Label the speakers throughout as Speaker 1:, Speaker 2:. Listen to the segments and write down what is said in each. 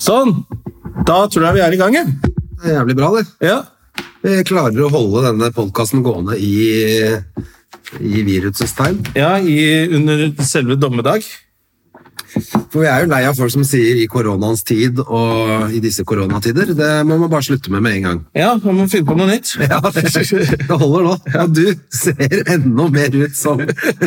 Speaker 1: Sånn! Da tror jeg vi er i gang, jeg.
Speaker 2: Det er jævlig bra, det.
Speaker 1: Ja.
Speaker 2: Vi klarer å holde denne podkasten gående i, i virusets tegn.
Speaker 1: ja i, under selve dommedag.
Speaker 2: For vi er jo lei av folk som sier 'i koronaens tid' og 'i disse koronatider'. Det må man bare slutte med med en gang.
Speaker 1: Ja, man må finne på noe nytt.
Speaker 2: Ja, Det det holder nå. Og du ser enda mer ut som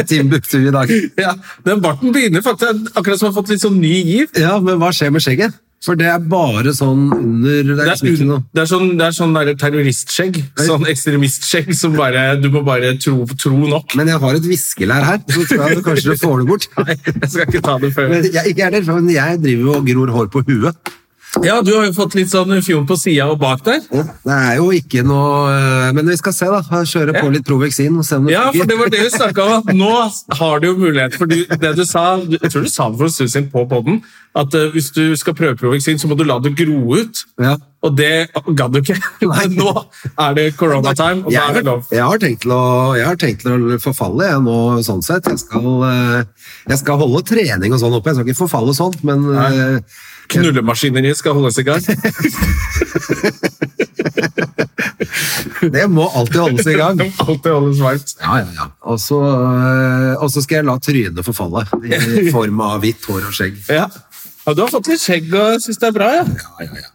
Speaker 2: Timbuktu i dag.
Speaker 1: Ja, Den barten begynner faktisk akkurat som har fått litt sånn ny giv.
Speaker 2: Ja, Men hva skjer med skjegget? For det er bare sånn under Det er liksom
Speaker 1: Det er,
Speaker 2: ikke
Speaker 1: un,
Speaker 2: noe
Speaker 1: det er sånn, det er sånn der terroristskjegg. Sånn ekstremistskjegg som bare Du må bare tro, tro nok.
Speaker 2: Men jeg har et viskelær her, så tror jeg du kanskje du får det bort.
Speaker 1: Nei, jeg skal ikke ta det før.
Speaker 2: Men jeg, ikke heller, for jeg driver jo og gror hår på huet.
Speaker 1: Ja, du har jo fått litt sånn fjon på sida og bak der.
Speaker 2: Det er jo ikke noe øh, Men vi skal se, da. Kjøre på litt Provexin og se om det
Speaker 1: Ja, for
Speaker 2: funker.
Speaker 1: det var det vi snakka om. at Nå har du jo mulighet. For du, det du sa, jeg tror du sa det for en stund siden på poden, at eh, hvis du skal prøve Provexin, så må du la det gro ut.
Speaker 2: Ja.
Speaker 1: Og det gadd du ikke. Men nå er det coronatime, og da er det
Speaker 2: Jeg,
Speaker 1: lov.
Speaker 2: jeg, har tenkt til å, jeg har tenkt til å forfalle, jeg nå, sånn sett. Jeg skal, øh, jeg skal holde trening og sånn oppe. Jeg skal ikke forfalle sånt, men øh,
Speaker 1: Knullemaskineriet skal holdes i gang.
Speaker 2: det må alltid holdes i gang.
Speaker 1: Alltid holdes varmt.
Speaker 2: Ja, ja, ja. Og så øh, og så skal jeg la trynet forfalle i form av hvitt hår og skjegg.
Speaker 1: Ja. ja, du har fått litt skjegg og syns det er bra, ja.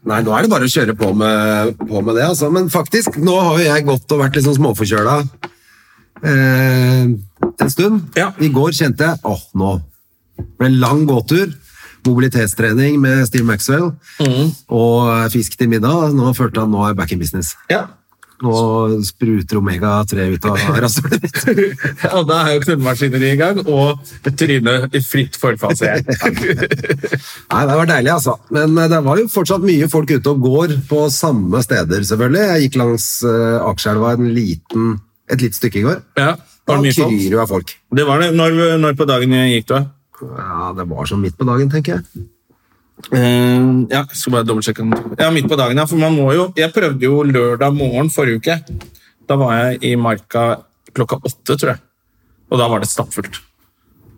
Speaker 2: Nei, nå er det bare å kjøre på med, på med det, altså. Men faktisk, nå har jo jeg gått og vært litt sånn småforkjøla eh, en stund.
Speaker 1: Ja.
Speaker 2: I går kjente jeg åh, nå ble det lang gåtur. Mobilitetstrening med Steve Maxwell og eh, fisk til middag. Nå følte han nå er back in business.
Speaker 1: ja.
Speaker 2: Nå spruter omega-3 ut av rasshølet mitt.
Speaker 1: Og da er jo knullemaskineriet i gang, og trynet i fritt forfall, ser jeg.
Speaker 2: Nei, det var deilig, altså. Men eh, det var jo fortsatt mye folk ute og går på samme steder, selvfølgelig. Jeg gikk langs eh, Akerselva en liten, et lite stykke i går.
Speaker 1: Ja. Var det mye
Speaker 2: Da kryr
Speaker 1: folk?
Speaker 2: jo av folk.
Speaker 1: Det var det. Når, når på dagen gikk du av?
Speaker 2: Ja, det var sånn midt på dagen, tenker jeg.
Speaker 1: Eh, ja, skal bare dobbeltsjekke den. Ja, midt på dagen, ja. For man må jo Jeg prøvde jo lørdag morgen forrige uke. Da var jeg i Marka klokka åtte, tror jeg. Og da var det stappfullt.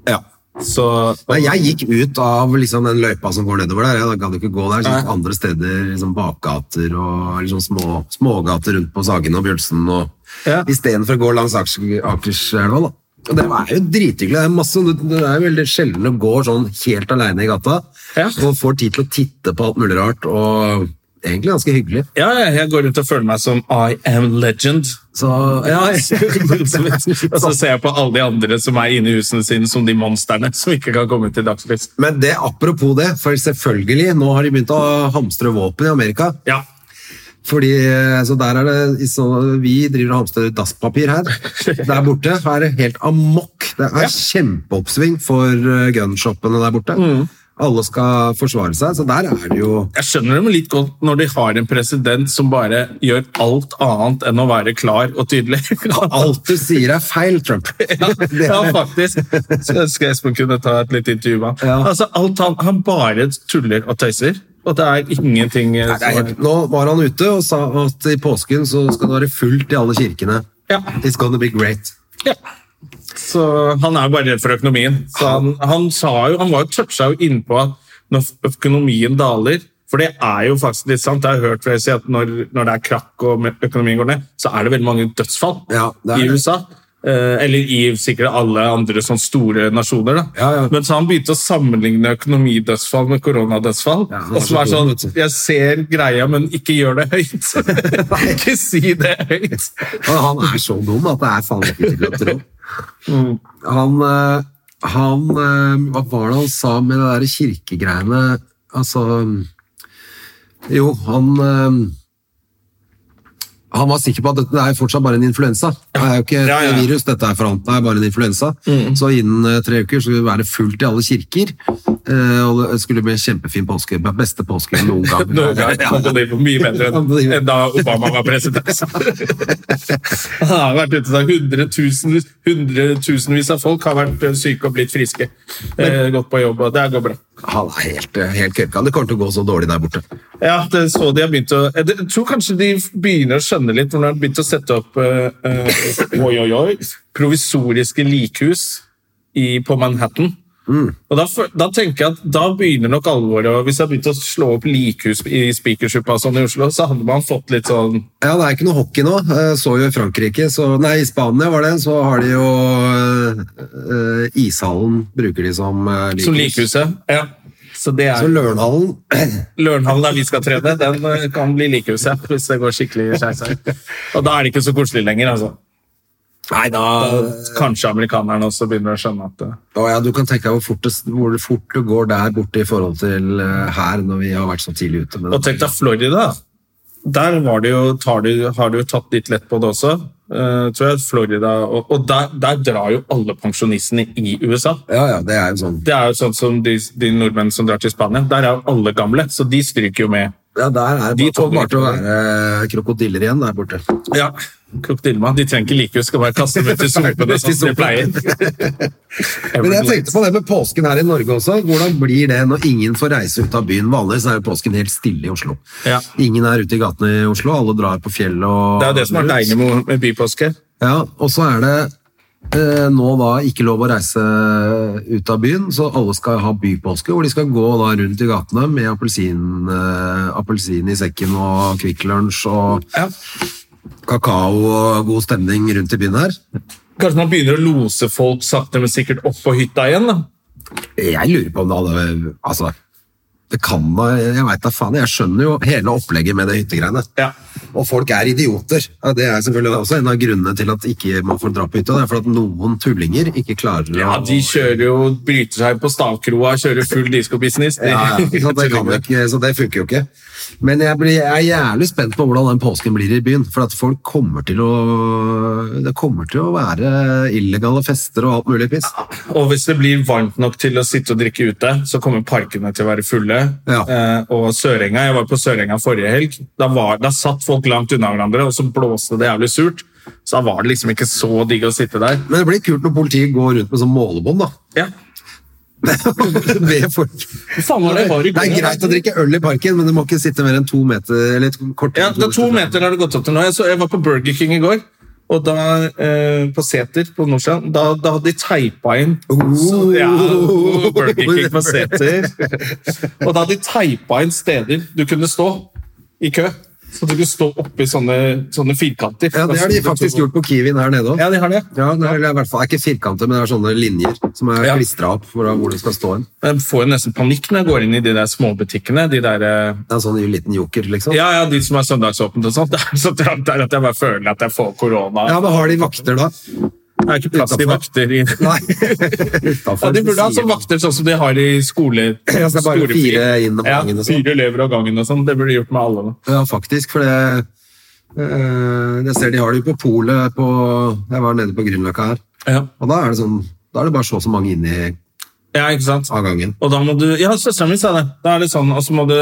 Speaker 2: Ja.
Speaker 1: Så
Speaker 2: Nei, jeg gikk ut av liksom den løypa som går nedover der. Jeg gadd jo ikke gå der. Så gikk
Speaker 1: Nei.
Speaker 2: andre steder, liksom bakgater og liksom små, smågater rundt på Sagen og Bjølsen. Og...
Speaker 1: Ja.
Speaker 2: Istedenfor å gå langs Akers- Akerselva, da. Og det er jo drithyggelig. Det er, masse, det er jo veldig sjelden du går sånn helt aleine i gata
Speaker 1: Ja.
Speaker 2: og får tid til å titte på alt mulig rart. Og egentlig ganske hyggelig.
Speaker 1: ja, ja, jeg går rundt og føler meg som I am legend.
Speaker 2: Så ja,
Speaker 1: og så ser jeg på alle de andre som er inne i husene sine som de monstrene som ikke kan komme til dagslys.
Speaker 2: Men det, apropos det, for selvfølgelig, nå har de begynt å hamstre våpen i Amerika.
Speaker 1: Ja.
Speaker 2: Fordi, eh, så der er det, i så, Vi driver og hamstrer dasspapir her. Der borte er det helt amok. Det er kjempeoppsving for eh, gunshoppene der borte.
Speaker 1: Mm.
Speaker 2: Alle skal forsvare seg, så der er det jo
Speaker 1: Jeg skjønner dem litt godt når de har en president som bare gjør alt annet enn å være klar og tydelig.
Speaker 2: Alt du sier er feil, Trump.
Speaker 1: Ja,
Speaker 2: Det
Speaker 1: ja,
Speaker 2: er-
Speaker 1: faktisk. Skulle ønske Espen kunne ta et lite intervju med ham.
Speaker 2: Ja.
Speaker 1: Altså, alt han, han bare tuller og tøyser, og det er ingenting eh,
Speaker 2: det er
Speaker 1: som er-
Speaker 2: helt- Nå var han ute og sa at i påsken så skal det være fullt i alle kirkene.
Speaker 1: Ja.
Speaker 2: It's gonna be great.
Speaker 1: ja. Så han er jo bare redd for økonomien. Så han, han sa jo, han var jo toucha jo innpå at når økonomien daler For det er jo faktisk litt sant. Jeg har hørt flere si at når, når det er krakk og me- økonomien går ned, så er det veldig mange dødsfall
Speaker 2: Ja, det er
Speaker 1: i
Speaker 2: det.
Speaker 1: USA. Eh, eller i sikkert alle andre sånn store nasjoner. da.
Speaker 2: Ja, ja.
Speaker 1: Men så han begynte å sammenligne økonomidødsfall med koronadødsfall.
Speaker 2: Ja, han
Speaker 1: og som
Speaker 2: var
Speaker 1: er
Speaker 2: så dum,
Speaker 1: sånn
Speaker 2: vet du.
Speaker 1: Jeg ser greia, men ikke gjør det høyt. ikke si det høyt.
Speaker 2: Og han er så dum at det er faen ikke til å tro. Han, eh, han eh, Hva var det han sa med det der kirkegreiene Altså Jo, han eh, han var sikker på at dette er fortsatt bare en influensa. Det er jo ikke et
Speaker 1: Ja, Mm. ja, ja.
Speaker 2: virus, dette er for annet, det er bare en influensa. Så innen eh, tre uker skulle det være fullt i alle kirker, eh, og det skulle bli en kjempefin påske. Beste påske noen gang.
Speaker 1: Noen gang kan det bli mye bedre enn enn da Obama var president. Han har vært ute da hundretusen- hundretusenvis av folk har vært eh, syke og blitt friske. Eh, gått på jobb, og det går bra.
Speaker 2: Han er helt, eh, helt kørka. Det kommer til å gå så dårlig der borte.
Speaker 1: Ja, det så de har begynt å Jeg det- tror kanskje de begynner å skjønne litt når de har begynt å sette opp eh, eh, oi, oi, oi, provisoriske likhus i, på Manhattan. Og da, fø- da tenker jeg at da begynner nok alvoret. og Hvis jeg har begynt å slå opp likhus i Spikersuppa sånn i Oslo, så hadde man fått litt sånn
Speaker 2: Ja, det er ikke noe hockey nå. Eh, Så jo i Frankrike, så, nei, i Spania var det, så har de jo eh, eh, ishallen bruker de som eh,
Speaker 1: som likhuset. Ja. Så det
Speaker 2: Så
Speaker 1: er
Speaker 2: Lørenhallen
Speaker 1: Lørenhallen der vi skal trene, den eh, kan bli likhuset hvis det går skikkelig skeis her. Og da er det ikke så koselig lenger, altså.
Speaker 2: Nei, da
Speaker 1: Da Kanskje amerikanerne også begynner å skjønne at eh,
Speaker 2: Å ja, Du kan tenke deg hvor fort, det, hvor fort det går der borte i forhold til eh, her, når vi har vært så tidlig ute. med
Speaker 1: Og
Speaker 2: det.
Speaker 1: tenk deg Florida. Der var det jo, tar du, har du jo tatt litt lett på det også. eh, tror jeg Florida, Og, og der, der drar jo alle pensjonistene i USA.
Speaker 2: Ja, ja, det er jo sånn.
Speaker 1: Det er jo sånn som de, de nordmenn som drar til Spania. Der er jo alle gamle, så de stryker jo med.
Speaker 2: Ja, Der er
Speaker 1: De
Speaker 2: det bare,
Speaker 1: tåler
Speaker 2: bare til å
Speaker 1: ikke
Speaker 2: være krokodiller igjen der borte.
Speaker 1: Ja, Krokodillmann. De trenger ikke likhus, skal bare kaste dem ut i sumpene
Speaker 2: Ut i
Speaker 1: sånn som de pleier.
Speaker 2: Men jeg tenkte på det med påsken her i Norge også. Hvordan blir det når ingen får reise ut av byen? Vanligvis er jo påsken helt stille i Oslo.
Speaker 1: Ja.
Speaker 2: Ingen er ute i gatene i Oslo, alle drar på fjellet og
Speaker 1: Det er jo det som er deilig med med bypåske.
Speaker 2: Ja, og så er det eh, nå da ikke lov å reise eh, ut av byen, så alle skal ha bypåske, hvor de skal gå da rundt i gatene med appelsin, eh, appelsin i sekken og Kvikk Lunsj og
Speaker 1: Ja.
Speaker 2: kakao og god stemning rundt i byen her.
Speaker 1: Kanskje man begynner å lose folk sakte, men sikkert opp på hytta igjen? da.
Speaker 2: Jeg lurer på om det hadde Altså, det kan da Jeg veit da faen. Jeg skjønner jo hele opplegget med det hyttegreiene.
Speaker 1: Ja.
Speaker 2: Og folk er idioter. Ja, det er selvfølgelig også en av grunnene til at ikke man får dra på hytta. Det er for at noen tullinger ikke klarer
Speaker 1: Ja, de kjører jo, bryter seg på stavkroa, kjører full disco-business. De-
Speaker 2: Ja, ja, ikke sant? det kan vi ikke, så det funker jo ikke. Men jeg, blir, jeg er jævlig spent på hvordan den påsken blir i byen. For at folk kommer til å Det kommer til å være illegale fester og alt mulig piss.
Speaker 1: Og hvis det blir varmt nok til å sitte og drikke ute, så kommer parkene til å være fulle.
Speaker 2: Ja.
Speaker 1: Eh, og Sørenga, Jeg var på Sørenga forrige helg. Da, var, da satt folk langt unna hverandre, og så blåste det jævlig surt. Så da var det liksom ikke så digg å sitte der.
Speaker 2: Men det blir kult når politiet går rundt med sånn målebånd, da.
Speaker 1: Ja.
Speaker 2: Ved folk.
Speaker 1: Hva faen var det var i
Speaker 2: Det er
Speaker 1: går?
Speaker 2: greit å drikke øl i parken, men du må ikke sitte mer enn to meter eller kortere.
Speaker 1: Ja,
Speaker 2: enn
Speaker 1: det er to
Speaker 2: meter.
Speaker 1: meter har det gått opp til nå. Jeg, så, jeg var på Burger King i går. Og da, eh, på Seter på Nordsjøen, da, da hadde de teipa inn så, ja,
Speaker 2: Oh.
Speaker 1: Burger King på Seter. Og da hadde de teipa inn steder du kunne stå i kø. Så du kunne stå oppi sånne, sånne firkanter.
Speaker 2: Ja, det har de faktisk gjort på Kiwien her nede òg.
Speaker 1: Ja, de har det.
Speaker 2: Ja, det er, eller i hvert fall, det er ikke firkanter, men det er sånne linjer som er
Speaker 1: Ja.
Speaker 2: klistra opp for hvor det skal stå hen.
Speaker 1: Jeg får jo nesten panikk når jeg går inn i de der småbutikkene. De der, eh,
Speaker 2: Det er en sånn liten joker, liksom.
Speaker 1: ja, ja, de som har søndagsåpent og sånt. Det er så trangt der at jeg bare føler at jeg får korona.
Speaker 2: Ja, men har de vakter da?
Speaker 1: Det er ikke plass til
Speaker 2: Utenfor.
Speaker 1: vakter i
Speaker 2: Nei. Utenfor,
Speaker 1: Ja, De burde ha
Speaker 2: sier
Speaker 1: sånn
Speaker 2: de.
Speaker 1: vakter sånn som de har i skole...
Speaker 2: Ja, så det er bare
Speaker 1: skolefri.
Speaker 2: fire inn om
Speaker 1: ja,
Speaker 2: gangen og sånn.
Speaker 1: fire elever av gangen og sånn. Det burde de gjort med alle. nå.
Speaker 2: Ja, faktisk, for det eh, Jeg ser de har det jo på polet på Jeg var nede på Grünerløkka her,
Speaker 1: Ja.
Speaker 2: og da er det sånn Da er det bare så og så mange inni
Speaker 1: ikke sant?
Speaker 2: av gangen.
Speaker 1: Og da må du... Ja, søsteren min sa det. Da er det sånn, og så må du...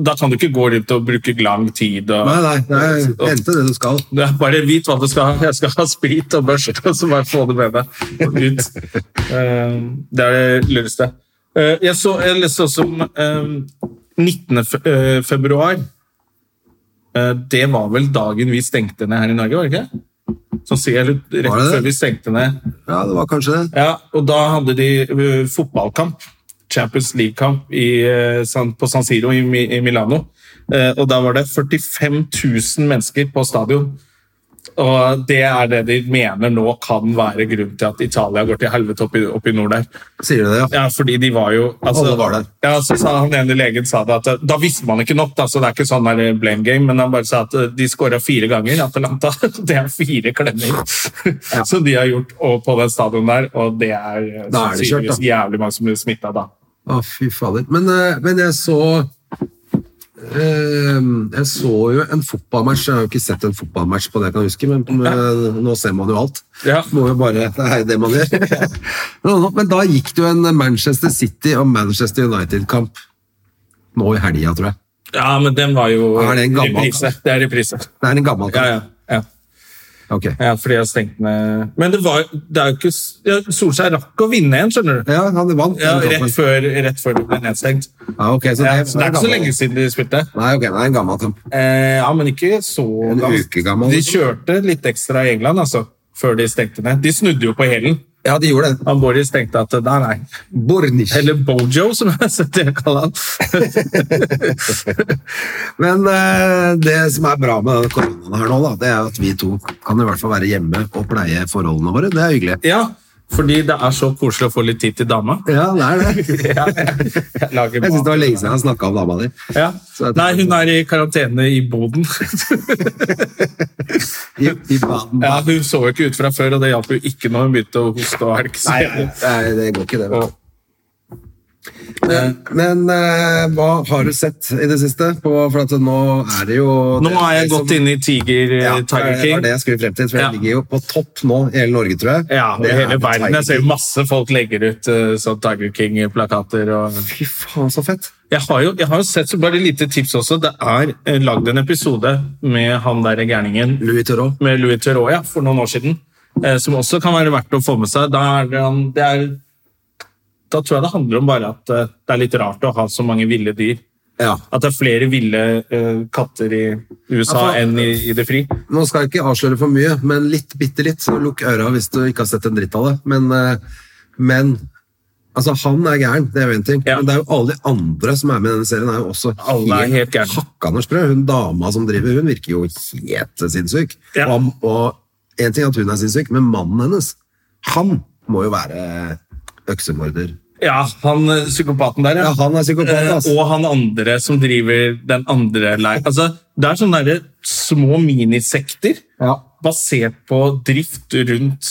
Speaker 1: Da kan du ikke gå rundt og bruke lang tid. Og,
Speaker 2: Nei, nei, det er, vente det du skal.
Speaker 1: Det er bare vit hva du skal ha. Jeg skal ha sprit og børste, og så bare få det med deg og ut. Eh, Det er det lureste. Eh, Jeg, så, jeg leste også om eh, 19. fe- eh, februar. Eh, Det var vel dagen vi stengte ned her i Norge, var det ikke? Sånn sier jeg litt
Speaker 2: Var
Speaker 1: rett
Speaker 2: det det?
Speaker 1: før vi stengte ned.
Speaker 2: Ja, det var kanskje det.
Speaker 1: Ja, og da hadde de eh, fotballkamp. Champions League-kamp i, eh, San- på San Siro i, Mi- i Milano. Eh, og da var det 45 000 mennesker på stadion. Og det er det de mener nå kan være grunnen til at Italia går til helvete oppe i, opp i nord der.
Speaker 2: Sier du det, ja?
Speaker 1: Ja, fordi de var jo altså,
Speaker 2: Alle var der.
Speaker 1: Ja, så sa han ene legen sa det at da visste man ikke nok, da, så det er ikke sånn der eh, blame game, men han bare sa at eh, de skåra fire ganger, Atalanta. Det er fire klemmer som de har gjort og på den stadion der, og det er, eh,
Speaker 2: Da er det kjørt, da.
Speaker 1: sannsynligvis jævlig mange som blir smitta da.
Speaker 2: Å, fy fader. Men, eh, men jeg så eh, jeg så jo en fotballmatch. Jeg har jo ikke sett en fotballmatch på det jeg kan huske, men eh, nå ser man jo alt.
Speaker 1: Ja.
Speaker 2: Må jo bare, det er jo det man gjør. Men nå- men da gikk det jo en Manchester City og Manchester United-kamp nå i helga, tror jeg.
Speaker 1: Ja, men den var jo
Speaker 2: Er det en gammel
Speaker 1: reprise. Det er reprise.
Speaker 2: Det er en gammel
Speaker 1: Ja,
Speaker 2: kamp.
Speaker 1: ja, ja.
Speaker 2: Ok.
Speaker 1: ja fordi jeg stengte ned Men det, var, det er jo ikke s- ja, Solskjær rakk å vinne en, skjønner du.
Speaker 2: Ja, han vant.
Speaker 1: Ja,
Speaker 2: den kampen.
Speaker 1: rett før, rett før det ble nedstengt.
Speaker 2: Ja, ok, så det,
Speaker 1: Ja, så det er ikke så
Speaker 2: gammel.
Speaker 1: lenge siden de spilte.
Speaker 2: Nei, ok, det er en gammel kamp.
Speaker 1: Eh, ja, men ikke så
Speaker 2: En
Speaker 1: gammel.
Speaker 2: uke gammel.
Speaker 1: De kjørte litt ekstra i England, altså. Før de stengte ned. De snudde jo på hælen.
Speaker 2: Ja, de gjorde det.
Speaker 1: Han Boris tenkte at nei, nei.
Speaker 2: Bornish.
Speaker 1: Eller Bojo, som jeg har sett det jeg kaller han.
Speaker 2: Men eh, det som er bra med denne koronaen her nå, da, det er at vi to kan i hvert fall være hjemme og pleie forholdene våre. Det er hyggelig.
Speaker 1: ja, fordi det er så koselig å få litt tid til dama.
Speaker 2: Ja, det er det.
Speaker 1: Ja, jeg, jeg lager
Speaker 2: Jeg syns det
Speaker 1: mat.
Speaker 2: var lenge siden jeg snakka om dama di.
Speaker 1: Ja.
Speaker 2: Så jeg tenker-
Speaker 1: Nei, hun er i karantene i boden.
Speaker 2: I, i baden.
Speaker 1: Ja, hun så jo ikke ut fra før, og det hjalp jo ikke når hun begynte å hoste og helke.
Speaker 2: Nei, nei, det går ikke, det.
Speaker 1: Og-
Speaker 2: vet du. Men, men eh, hva har du sett i det siste? På, for at nå er det jo
Speaker 1: Nå er jeg godt inne i Tiger,
Speaker 2: ja, det
Speaker 1: Tiger
Speaker 2: var
Speaker 1: King.
Speaker 2: det jeg skulle frem til. For
Speaker 1: Ja.
Speaker 2: jeg ligger jo på topp nå i hele Norge, tror jeg.
Speaker 1: Ja, og
Speaker 2: Det er
Speaker 1: hele
Speaker 2: på
Speaker 1: verden.
Speaker 2: Tiger
Speaker 1: Jeg ser
Speaker 2: King.
Speaker 1: jo masse folk legger ut eh, sånn Tiger King-plakater. og...
Speaker 2: Fy faen, så fett.
Speaker 1: Jeg har jo jeg har jo sett så bare et lite tips også. Det er eh, lagd en episode med han der gærningen
Speaker 2: Louis Theroux.
Speaker 1: med Louis Theroux ja, for noen år siden, eh, som også kan være verdt å få med seg. Da, er det han, det er, da tror jeg det handler om bare at eh, det er litt rart å ha så mange ville dyr.
Speaker 2: Ja.
Speaker 1: At det er flere ville eh, katter i USA
Speaker 2: Ja, for-
Speaker 1: enn i, i det fri.
Speaker 2: Nå skal jeg ikke avsløre for mye, men litt, bitte litt, så lukk øra hvis du ikke har sett en dritt av det. Men, eh, men altså, han er gæren, det er jo en ting.
Speaker 1: Ja.
Speaker 2: Men det er jo alle de andre som er med i denne serien, er jo også
Speaker 1: Alle er helt gærne.
Speaker 2: hakkande sprø. Hun dama som driver, hun virker jo helt sinnssyk.
Speaker 1: Ja.
Speaker 2: Og, han- og en ting er at hun er sinnssyk, men mannen hennes, han må jo være øksemorder.
Speaker 1: Ja, han eh, psykopaten der,
Speaker 2: Ja, han er psykopat, ass.
Speaker 1: Eh, Og han andre som driver den andre leiren. Altså, det er sånne der små minisekter
Speaker 2: Ja.
Speaker 1: basert på drift rundt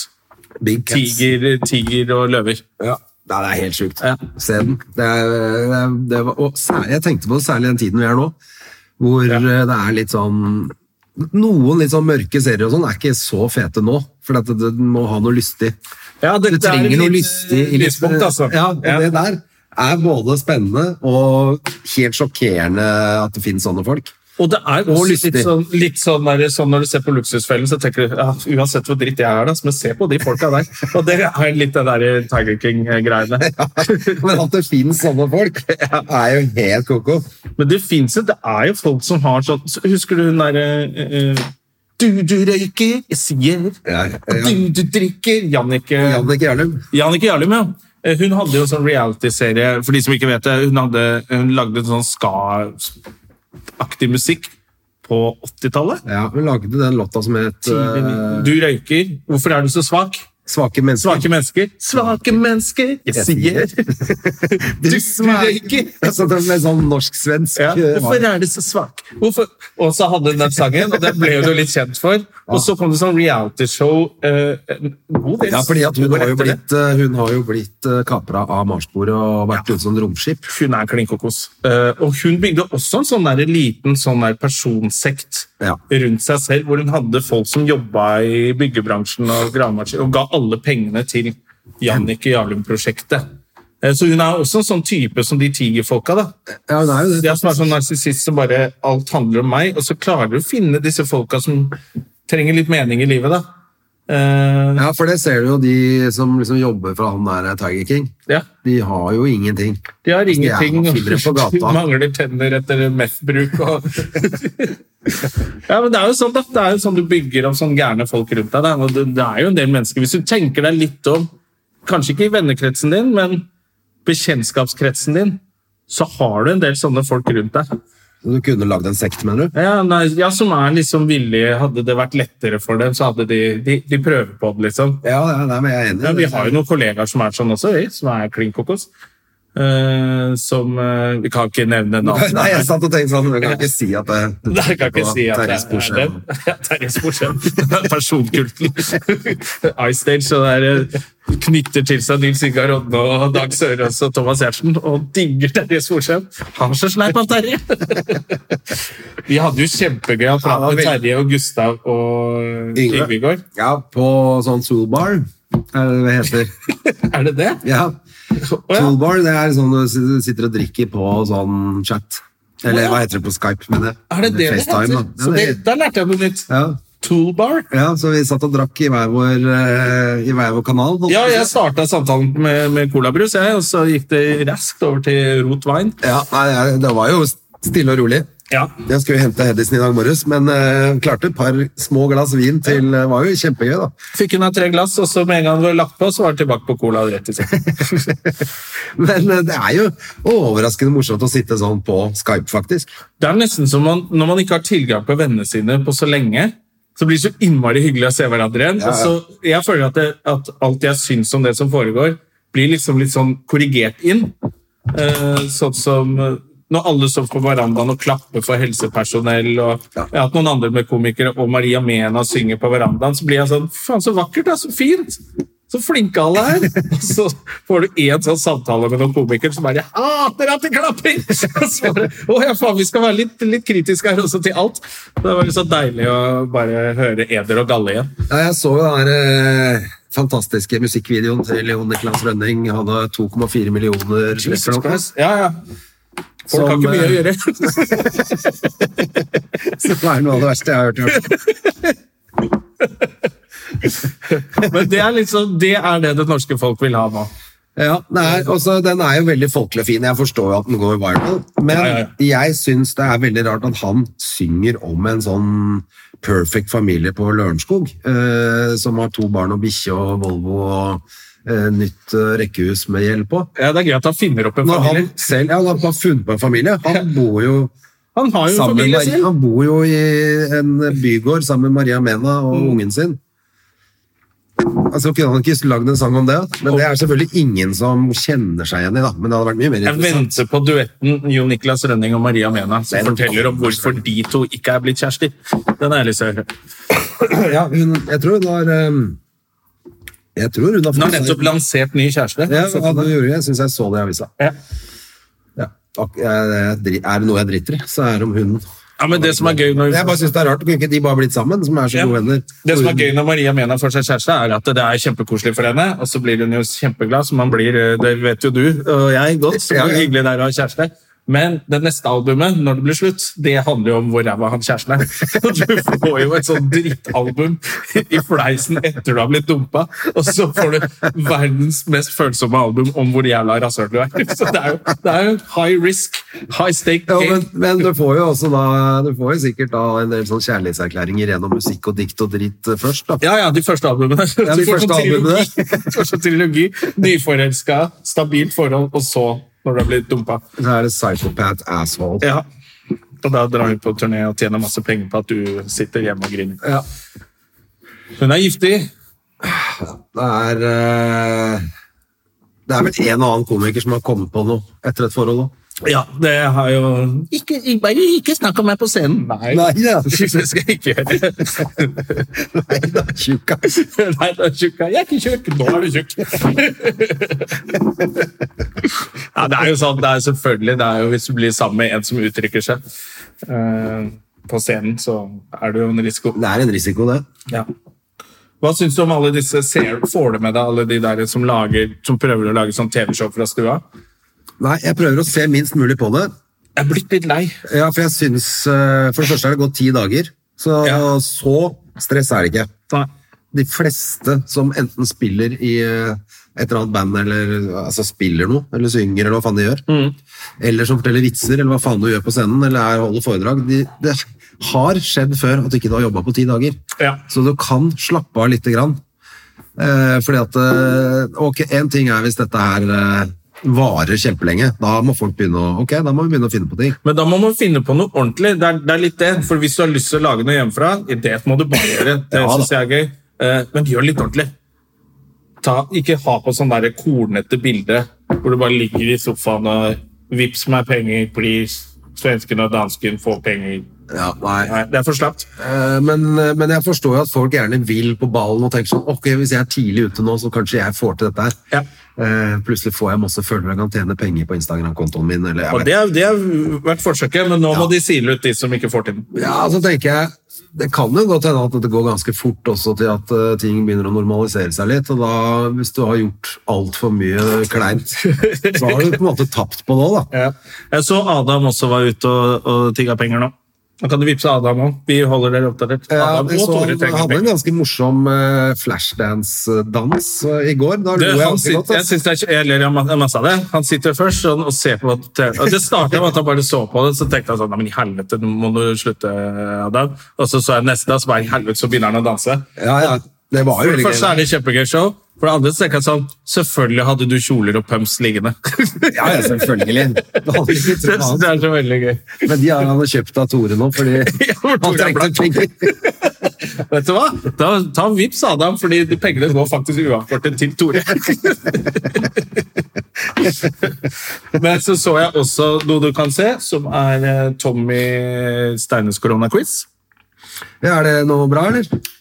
Speaker 2: Big cats.
Speaker 1: tiger, tiger og løver.
Speaker 2: Ja. Nei, det er helt sjukt.
Speaker 1: Ja.
Speaker 2: Se den. Det er, det er, det var, og særlig, jeg tenkte på det særlig den tiden vi er nå, hvor eh, det er litt sånn Noen litt sånn mørke serier og sånn er ikke så fete nå, for at det- den må ha noe lystig.
Speaker 1: Ja,
Speaker 2: Du
Speaker 1: dette er
Speaker 2: trenger
Speaker 1: et
Speaker 2: noe
Speaker 1: lite
Speaker 2: lystig. i litt-
Speaker 1: lyspunkt, altså.
Speaker 2: Ja, og
Speaker 1: Ja.
Speaker 2: det der er både spennende og helt sjokkerende at det finnes sånne folk.
Speaker 1: Og det er
Speaker 2: Og
Speaker 1: også
Speaker 2: lystig.
Speaker 1: litt sånn, litt sånn, der, sånn når du ser på Luksusfellen, så tenker du ja, uansett hvor dritt jeg er, da, så må jeg se på de folka der. Og det er litt det der Tiger King-greiene.
Speaker 2: Men at det finnes sånne folk, er jo helt koko.
Speaker 1: Men det fins jo, det er jo folk som har sånn så Husker du hun derre eh, eh, Du, du røyker, jeg sier.
Speaker 2: Ja, ja.
Speaker 1: Du, du drikker. Jannicke
Speaker 2: Jannicke Jarlum.
Speaker 1: Jannicke Jarlum, ja. Eh, Hun hadde jo sånn reality-serie, for de som ikke vet det. Hun, hadde, hun lagde sånn ska-aktig musikk på 80-tallet.
Speaker 2: Ja, hun lagde den låta som het eh,
Speaker 1: Du røyker. Hvorfor er du så svak?
Speaker 2: Svake mennesker.
Speaker 1: Svake mennesker. Svake mennesker, jeg sier. Du, du røyker.
Speaker 2: Altså, det ble sånn norsk-svensk.
Speaker 1: Ja.
Speaker 2: eh,
Speaker 1: Hvorfor er du så svak? Hvorfor? Og så hadde hun den sangen, og den ble hun jo litt kjent for. Og så kom det sånn realityshow eh, en god del
Speaker 2: Ja, fordi at hun
Speaker 1: år
Speaker 2: har jo
Speaker 1: etter det.
Speaker 2: blitt, eh, hun har jo blitt eh, kapra av Marsbordet og vært ute som romskip.
Speaker 1: Hun er klin kokos. Eh, og hun bygde også en sånn der liten sånn der personsekt
Speaker 2: Ja.
Speaker 1: rundt seg selv, hvor hun hadde folk som jobba i byggebransjen og gravemaskiner, og ga alle pengene til Jannicke Jarlum-prosjektet. Eh, Så hun er også en sånn type som de tigerfolka, da.
Speaker 2: Ja, hun er jo
Speaker 1: Det
Speaker 2: det.
Speaker 1: er som er sånn narsissist som bare alt handler om meg, og så klarer du å finne disse folka som trenger litt mening i livet, da. Eh,
Speaker 2: Ja, for det ser du jo de som liksom jobber for han der eh, Tiger King.
Speaker 1: ja.
Speaker 2: De har jo ingenting. Altså,
Speaker 1: De har ingenting.
Speaker 2: Jævla fibre på gata.
Speaker 1: Mangler tenner etter meth-bruk. Og... ja, men det er jo sånn da. Det er jo sånn du bygger opp sånn gærne folk rundt deg. Da. Og det, det er jo en del mennesker. Hvis du tenker deg litt om, kanskje ikke i vennekretsen din, men bekjentskapskretsen din, så har du en del sånne folk rundt deg.
Speaker 2: Så du kunne lagd en sekt, mener du?
Speaker 1: Ja, nei, ja som er liksom villige. Hadde det vært lettere for dem, så hadde de, de, de prøver på det, liksom.
Speaker 2: Ja, ja, nei, men jeg er enig.
Speaker 1: Ja, vi har jo noen kollegaer som er sånn også, vi, som er klin kokos. eh, som eh, Vi kan ikke nevne navnet.
Speaker 2: Nei, jeg satt og tenkte sånn, jeg kan ikke si at det,
Speaker 1: Nei, jeg kan ikke si at det
Speaker 2: Terje
Speaker 1: er
Speaker 2: Sporsem.
Speaker 1: den. Ja, Terje Sporsem. Personkulten. Ice Stage så der, eh, knytter til seg Nils Ingar Odne og Dag Sørås og Thomas Giertsen og digger Terje Sporsem. Han er så sleip av Terje! Vi hadde jo kjempegøy å prate
Speaker 2: Ja, det
Speaker 1: med
Speaker 2: var veldig-
Speaker 1: Terje og Gustav og
Speaker 2: Yngve.
Speaker 1: Yngve i går.
Speaker 2: Ja, på sånn toolbar, er det det heter.
Speaker 1: Er det det?
Speaker 2: Ja,
Speaker 1: Å, ja.
Speaker 2: toolbar, det er sånn du sitter og drikker på sånn chat. Eller hva heter det på Skype, men det?
Speaker 1: Er det det det heter?
Speaker 2: FaceTime, da.
Speaker 1: Så
Speaker 2: Ja,
Speaker 1: det,
Speaker 2: det
Speaker 1: da lærte jeg noe nytt.
Speaker 2: ja.
Speaker 1: Toolbar.
Speaker 2: ja, så vi satt og drakk i hver vår, eh, i hver vår kanal. holdt
Speaker 1: Ja,
Speaker 2: jeg på å si.
Speaker 1: jeg starta samtalen med, med colabrus, jeg, og så gikk det raskt over til rot wine.
Speaker 2: Ja, nei, jeg- det var jo stille og rolig.
Speaker 1: Ja,
Speaker 2: Jeg skulle jo hente Hedison i dag morges, men eh, klarte et par små glass vin til. Det var jo kjempegøy, da.
Speaker 1: Fikk hun av tre glass, og så med en gang det var lagt på, så var det tilbake på cola og rett i seng.
Speaker 2: Men eh, det er jo overraskende morsomt å sitte sånn på Skype, faktisk.
Speaker 1: Det er nesten som man, når man ikke har tilgang på vennene sine på så lenge, så blir det så innmari hyggelig å se hverandre igjen.
Speaker 2: Ja, ja.
Speaker 1: Og så jeg føler at, det, at alt jeg syns om det som foregår, blir liksom litt sånn korrigert inn. Eh, sånn som eh, når alle står på verandaen og klapper for helsepersonell, og
Speaker 2: Ja.
Speaker 1: jeg har hatt noen andre med komikere, og Maria Mena synger på verandaen, så blir jeg sånn Faen, så vakkert, da! Så fint! Så flinke alle er! Og så får du én sånn samtale med noen komikere som bare 'Jeg hater at de klapper!' Og så bare 'Å ja, faen, vi skal være litt, litt kritiske her også til alt'. Det var så deilig å bare høre Eder og Galle igjen.
Speaker 2: Ja, jeg så jo den her, eh, fantastiske musikkvideoen til Jon Niklas Rønning. Han hadde 2,4 millioner
Speaker 1: Jesus
Speaker 2: eller noe.
Speaker 1: Christ. Ja, ja. Folk
Speaker 2: Som,
Speaker 1: har ikke mye å
Speaker 2: eh,
Speaker 1: gjøre.
Speaker 2: Så Det er noe av det verste jeg har hørt. i hvert fall.
Speaker 1: Men det er liksom, det er det det norske folk vil ha nå.
Speaker 2: Ja, det er, også, Den er jo veldig folkelig og fin. Jeg forstår jo at den går viral. Men
Speaker 1: Ja, ja,
Speaker 2: jeg syns det er veldig rart at han synger om en sånn perfect familie på Lørenskog, eh, som har to barn og bikkje og Volvo og eh, nytt eh, rekkehus med gjeld på.
Speaker 1: Ja, Det er gøy at han finner opp en
Speaker 2: Når han
Speaker 1: familie.
Speaker 2: selv ja, han har bare funnet på en familie. Han bor jo
Speaker 1: Han har jo en
Speaker 2: sammen med
Speaker 1: familie
Speaker 2: Maria,
Speaker 1: selv.
Speaker 2: han bor jo i en bygård sammen med Maria Mena og
Speaker 1: Mm.
Speaker 2: ungen sin. Altså Kunne han ikke lagd en sang om det? Men det er selvfølgelig ingen som kjenner seg igjen i, da. Men det hadde vært mye mer
Speaker 1: Jeg
Speaker 2: interessant.
Speaker 1: venter på duetten Jon Niklas Rønning og Maria Mena, som
Speaker 2: Den
Speaker 1: forteller om
Speaker 2: kommer.
Speaker 1: hvorfor de to ikke er blitt kjærester. Den er jeg lyst til å høre.
Speaker 2: Ja, hun, jeg tror hun har ehm, Jeg tror hun har
Speaker 1: Hun har nettopp lansert ny kjæreste.
Speaker 2: ja,
Speaker 1: Så-
Speaker 2: ja, det gjorde jeg. Syns jeg så det i avisa.
Speaker 1: Ja.
Speaker 2: Ja. Ak- jeg dri- Er det noe jeg driter i, så er det om hun
Speaker 1: Ja, men Det som er gøy når
Speaker 2: Jeg bare syns det er rart. Kunne ikke de bare blitt sammen, som er så
Speaker 1: Ja.
Speaker 2: gode venner?
Speaker 1: Det som er
Speaker 2: Hun-
Speaker 1: gøy når Maria Mena får seg kjæreste, er at det er kjempekoselig for henne, og så blir hun jo kjempeglad, som man blir, eh, det vet jo du og jeg godt, så
Speaker 2: Ja,
Speaker 1: hvor
Speaker 2: ja.
Speaker 1: hyggelig det er å ha kjæreste. Men det neste albumet, når det blir slutt, det handler jo om hvor ræva han kjæresten er. Og Du får jo et sånt drittalbum i fleisen etter du har blitt dumpa, og så får du verdens mest følsomme album om hvor jævla rasshøl du er. Så det er jo, det er jo high risk, high stake.
Speaker 2: Ja,
Speaker 1: game.
Speaker 2: men, men du får jo også da Du får jo sikkert da en del sånn kjærlighetserklæringer gjennom musikk og dikt og dritt eh, først, da.
Speaker 1: Ja, ja, de første albumene.
Speaker 2: Ja, de
Speaker 1: Så får
Speaker 2: første
Speaker 1: sånn
Speaker 2: albumene.
Speaker 1: trilogi- får sånn trilogi, nyforelska, stabilt forhold, og så når du har blitt dumpa.
Speaker 2: Så er det Psychopath Asshole.
Speaker 1: Ja. Og da drar hun på turné og tjener masse penger på at du sitter hjemme og griner.
Speaker 2: Ja.
Speaker 1: Hun er giftig.
Speaker 2: Det er eh, Det er vel en og annen komiker som har kommet på noe etter et forhold òg.
Speaker 1: Ja, det har jo ikke, ikke- Bare ikke snakk om meg på scenen. Nei,
Speaker 2: Nei, ja.
Speaker 1: det skal jeg ikke gjøre.
Speaker 2: Nei da, tjukka.
Speaker 1: Nei, du er tjukk. Jeg er ikke tjukk. Nå er du tjukk. ja, det er jo sånn, det er selvfølgelig det er jo Hvis du blir sammen med en som uttrykker seg eh, på scenen, så er det jo en risiko.
Speaker 2: Det er en risiko, det.
Speaker 1: Ja. Hva syns du om alle disse ser, Får du med deg alle de der som, lager, som prøver å lage sånn TV-show fra stua?
Speaker 2: Nei, jeg prøver å se minst mulig på det.
Speaker 1: Jeg er blitt litt lei.
Speaker 2: Ja, for jeg syns eh, For det første er det gått ti dager, så
Speaker 1: Ja.
Speaker 2: så stress er det ikke.
Speaker 1: Nei.
Speaker 2: de fleste som enten spiller i eh, et eller annet band, eller altså spiller noe, eller synger, eller hva faen de gjør,
Speaker 1: Mm.
Speaker 2: eller som forteller vitser, eller hva faen du gjør på scenen, eller er holder foredrag, de, det har skjedd før at du ikke har jobba på ti dager.
Speaker 1: Ja.
Speaker 2: Så du kan slappe av lite grann. Eh, fordi at eh, Ok, én ting er hvis dette her eh, varer kjempelenge. Da må folk begynne å Ok, da må vi begynne å finne på ting.
Speaker 1: Men da må man finne på noe ordentlig. Det er, det er litt det. For hvis du har lyst til å lage noe hjemmefra, det må du bare gjøre. Det
Speaker 2: Ja, da.
Speaker 1: synes jeg er gøy. Eh, Men gjør litt ordentlig. Ta, ikke ha på sånn der kornete bilde Hvor du bare ligger i sofaen og Vips meg penger, please. Svensken og dansken får penger.
Speaker 2: Ja, nei.
Speaker 1: Nei, det er for slapt.
Speaker 2: Eh, Men, men jeg forstår jo at folk gjerne vil på ballen og tenker sånn Ok, hvis jeg er tidlig ute nå, så kanskje jeg får til dette her.
Speaker 1: Ja.
Speaker 2: Eh, plutselig får jeg masse følgere og kan tjene penger på Instagram-kontoen min. Eller jeg
Speaker 1: Og
Speaker 2: vet
Speaker 1: det, er- det har vært forsøket, men nå må de sile ut de som ikke får til den.
Speaker 2: Ja, så tenker jeg det kan jo godt hende at det går ganske fort også til at eh, ting begynner å normalisere seg litt. Og da, hvis du har gjort altfor mye kleint, så har du på en måte tapt på det òg, da.
Speaker 1: Jeg så Adam også var ute og, og tigga penger nå. Nå kan du vippse Adam òg. Vi holder dere oppdatert.
Speaker 2: Ja,
Speaker 1: Adam
Speaker 2: jeg Eh,
Speaker 1: og
Speaker 2: så
Speaker 1: Tore
Speaker 2: han
Speaker 1: trenger
Speaker 2: hadde en
Speaker 1: penger.
Speaker 2: ganske morsom eh, flashdance-dans eh, i går. Da lo
Speaker 1: Du,
Speaker 2: jeg
Speaker 1: han
Speaker 2: ganske godt. altså. ass.
Speaker 1: sitter, jeg, synes det er, ikke- jeg ler av ma- masse av det. Han sitter først sånn, og ser på hva TV og Det startet med at han bare så på det, så tenkte han sånn Nei, men i helvete, nå må du slutte, Adam. Og så så jeg neste, og så bare i helvete, så begynner han å danse.
Speaker 2: Ja, ja. Det var jo
Speaker 1: For det
Speaker 2: veldig gøy.
Speaker 1: første er det kjempegøy show. For det andre så tenker jeg sånn Selvfølgelig hadde du kjoler og pumps liggende.
Speaker 2: da. Ja, ja, selvfølgelig. Det hadde ikke
Speaker 1: Det,
Speaker 2: trodd annet.
Speaker 1: det er så veldig gøy.
Speaker 2: Men de har han kjøpt av Tore nå, fordi
Speaker 1: Ja, for Tore
Speaker 2: han
Speaker 1: er
Speaker 2: trengte penger.
Speaker 1: Vet du hva? Da, ta vips Adam, fordi de pengene går faktisk uavkortet til Tore. Men så så jeg også noe du kan se, som er eh, Tommy Steines koronaquiz.
Speaker 2: Ja, er det noe bra, eller? Det-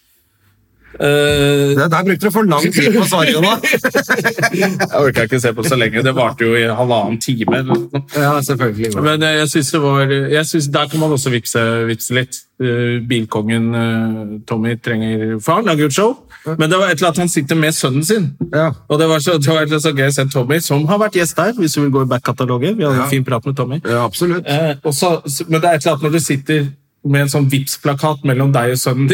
Speaker 1: Eh,
Speaker 2: Der brukte du for lang tid på å svare, Jonna.
Speaker 1: jeg orka ikke se på så lenge. Det varte jo i halvannen time. eller noe sånt.
Speaker 2: Ja, selvfølgelig. går det.
Speaker 1: Men eh, jeg syns det var jeg synes Der kan man også vipse, vipse litt. Eh, Bilkongen eh, Tommy trenger For han lager jo et show, men det var et eller annet han sitter med sønnen sin.
Speaker 2: Ja.
Speaker 1: Og det var så, det var egentlig så gøy å se Tommy, som har vært gjest der, hvis du vil gå i back-katalogen. Vi hadde
Speaker 2: Ja.
Speaker 1: en fin prat med Tommy.
Speaker 2: Ja, absolutt.
Speaker 1: Eh, og så- så- men det er et eller annet når du sitter med en sånn Vipps-plakat mellom deg og sønnen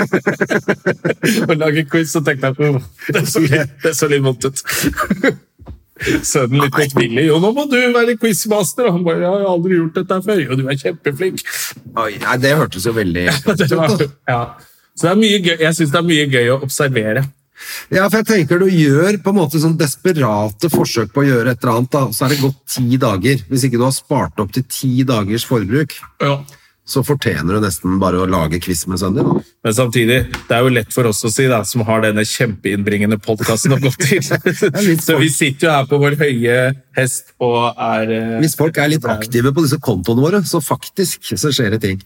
Speaker 1: din og lager quiz, så tenkte jeg på det er så litt, det er så litt vondt ut. Sønnen litt motvillig. Jo, nå må du være quizmaster! Og han bare, jeg har aldri gjort dette her før. Jo, du er kjempeflink.
Speaker 2: Oi, nei, det hørtes jo veldig
Speaker 1: Det var, ja. Så det er mye gøy. jeg syns det er mye gøy å observere.
Speaker 2: Ja, for jeg tenker du gjør på en måte sånn desperate forsøk på å gjøre et eller annet, da. så er det gått ti dager. Hvis ikke du har spart opp til ti dagers forbruk,
Speaker 1: Ja.
Speaker 2: så fortjener du nesten bare å lage quiz med sønnen din. da.
Speaker 1: Men samtidig, det er jo lett for oss å si, da, som har denne kjempeinnbringende podkasten å gå til.
Speaker 2: litt
Speaker 1: Så vi sitter jo her på vår høye hest og er eh,
Speaker 2: Hvis folk er litt aktive på disse kontoene våre, så faktisk så skjer det ting.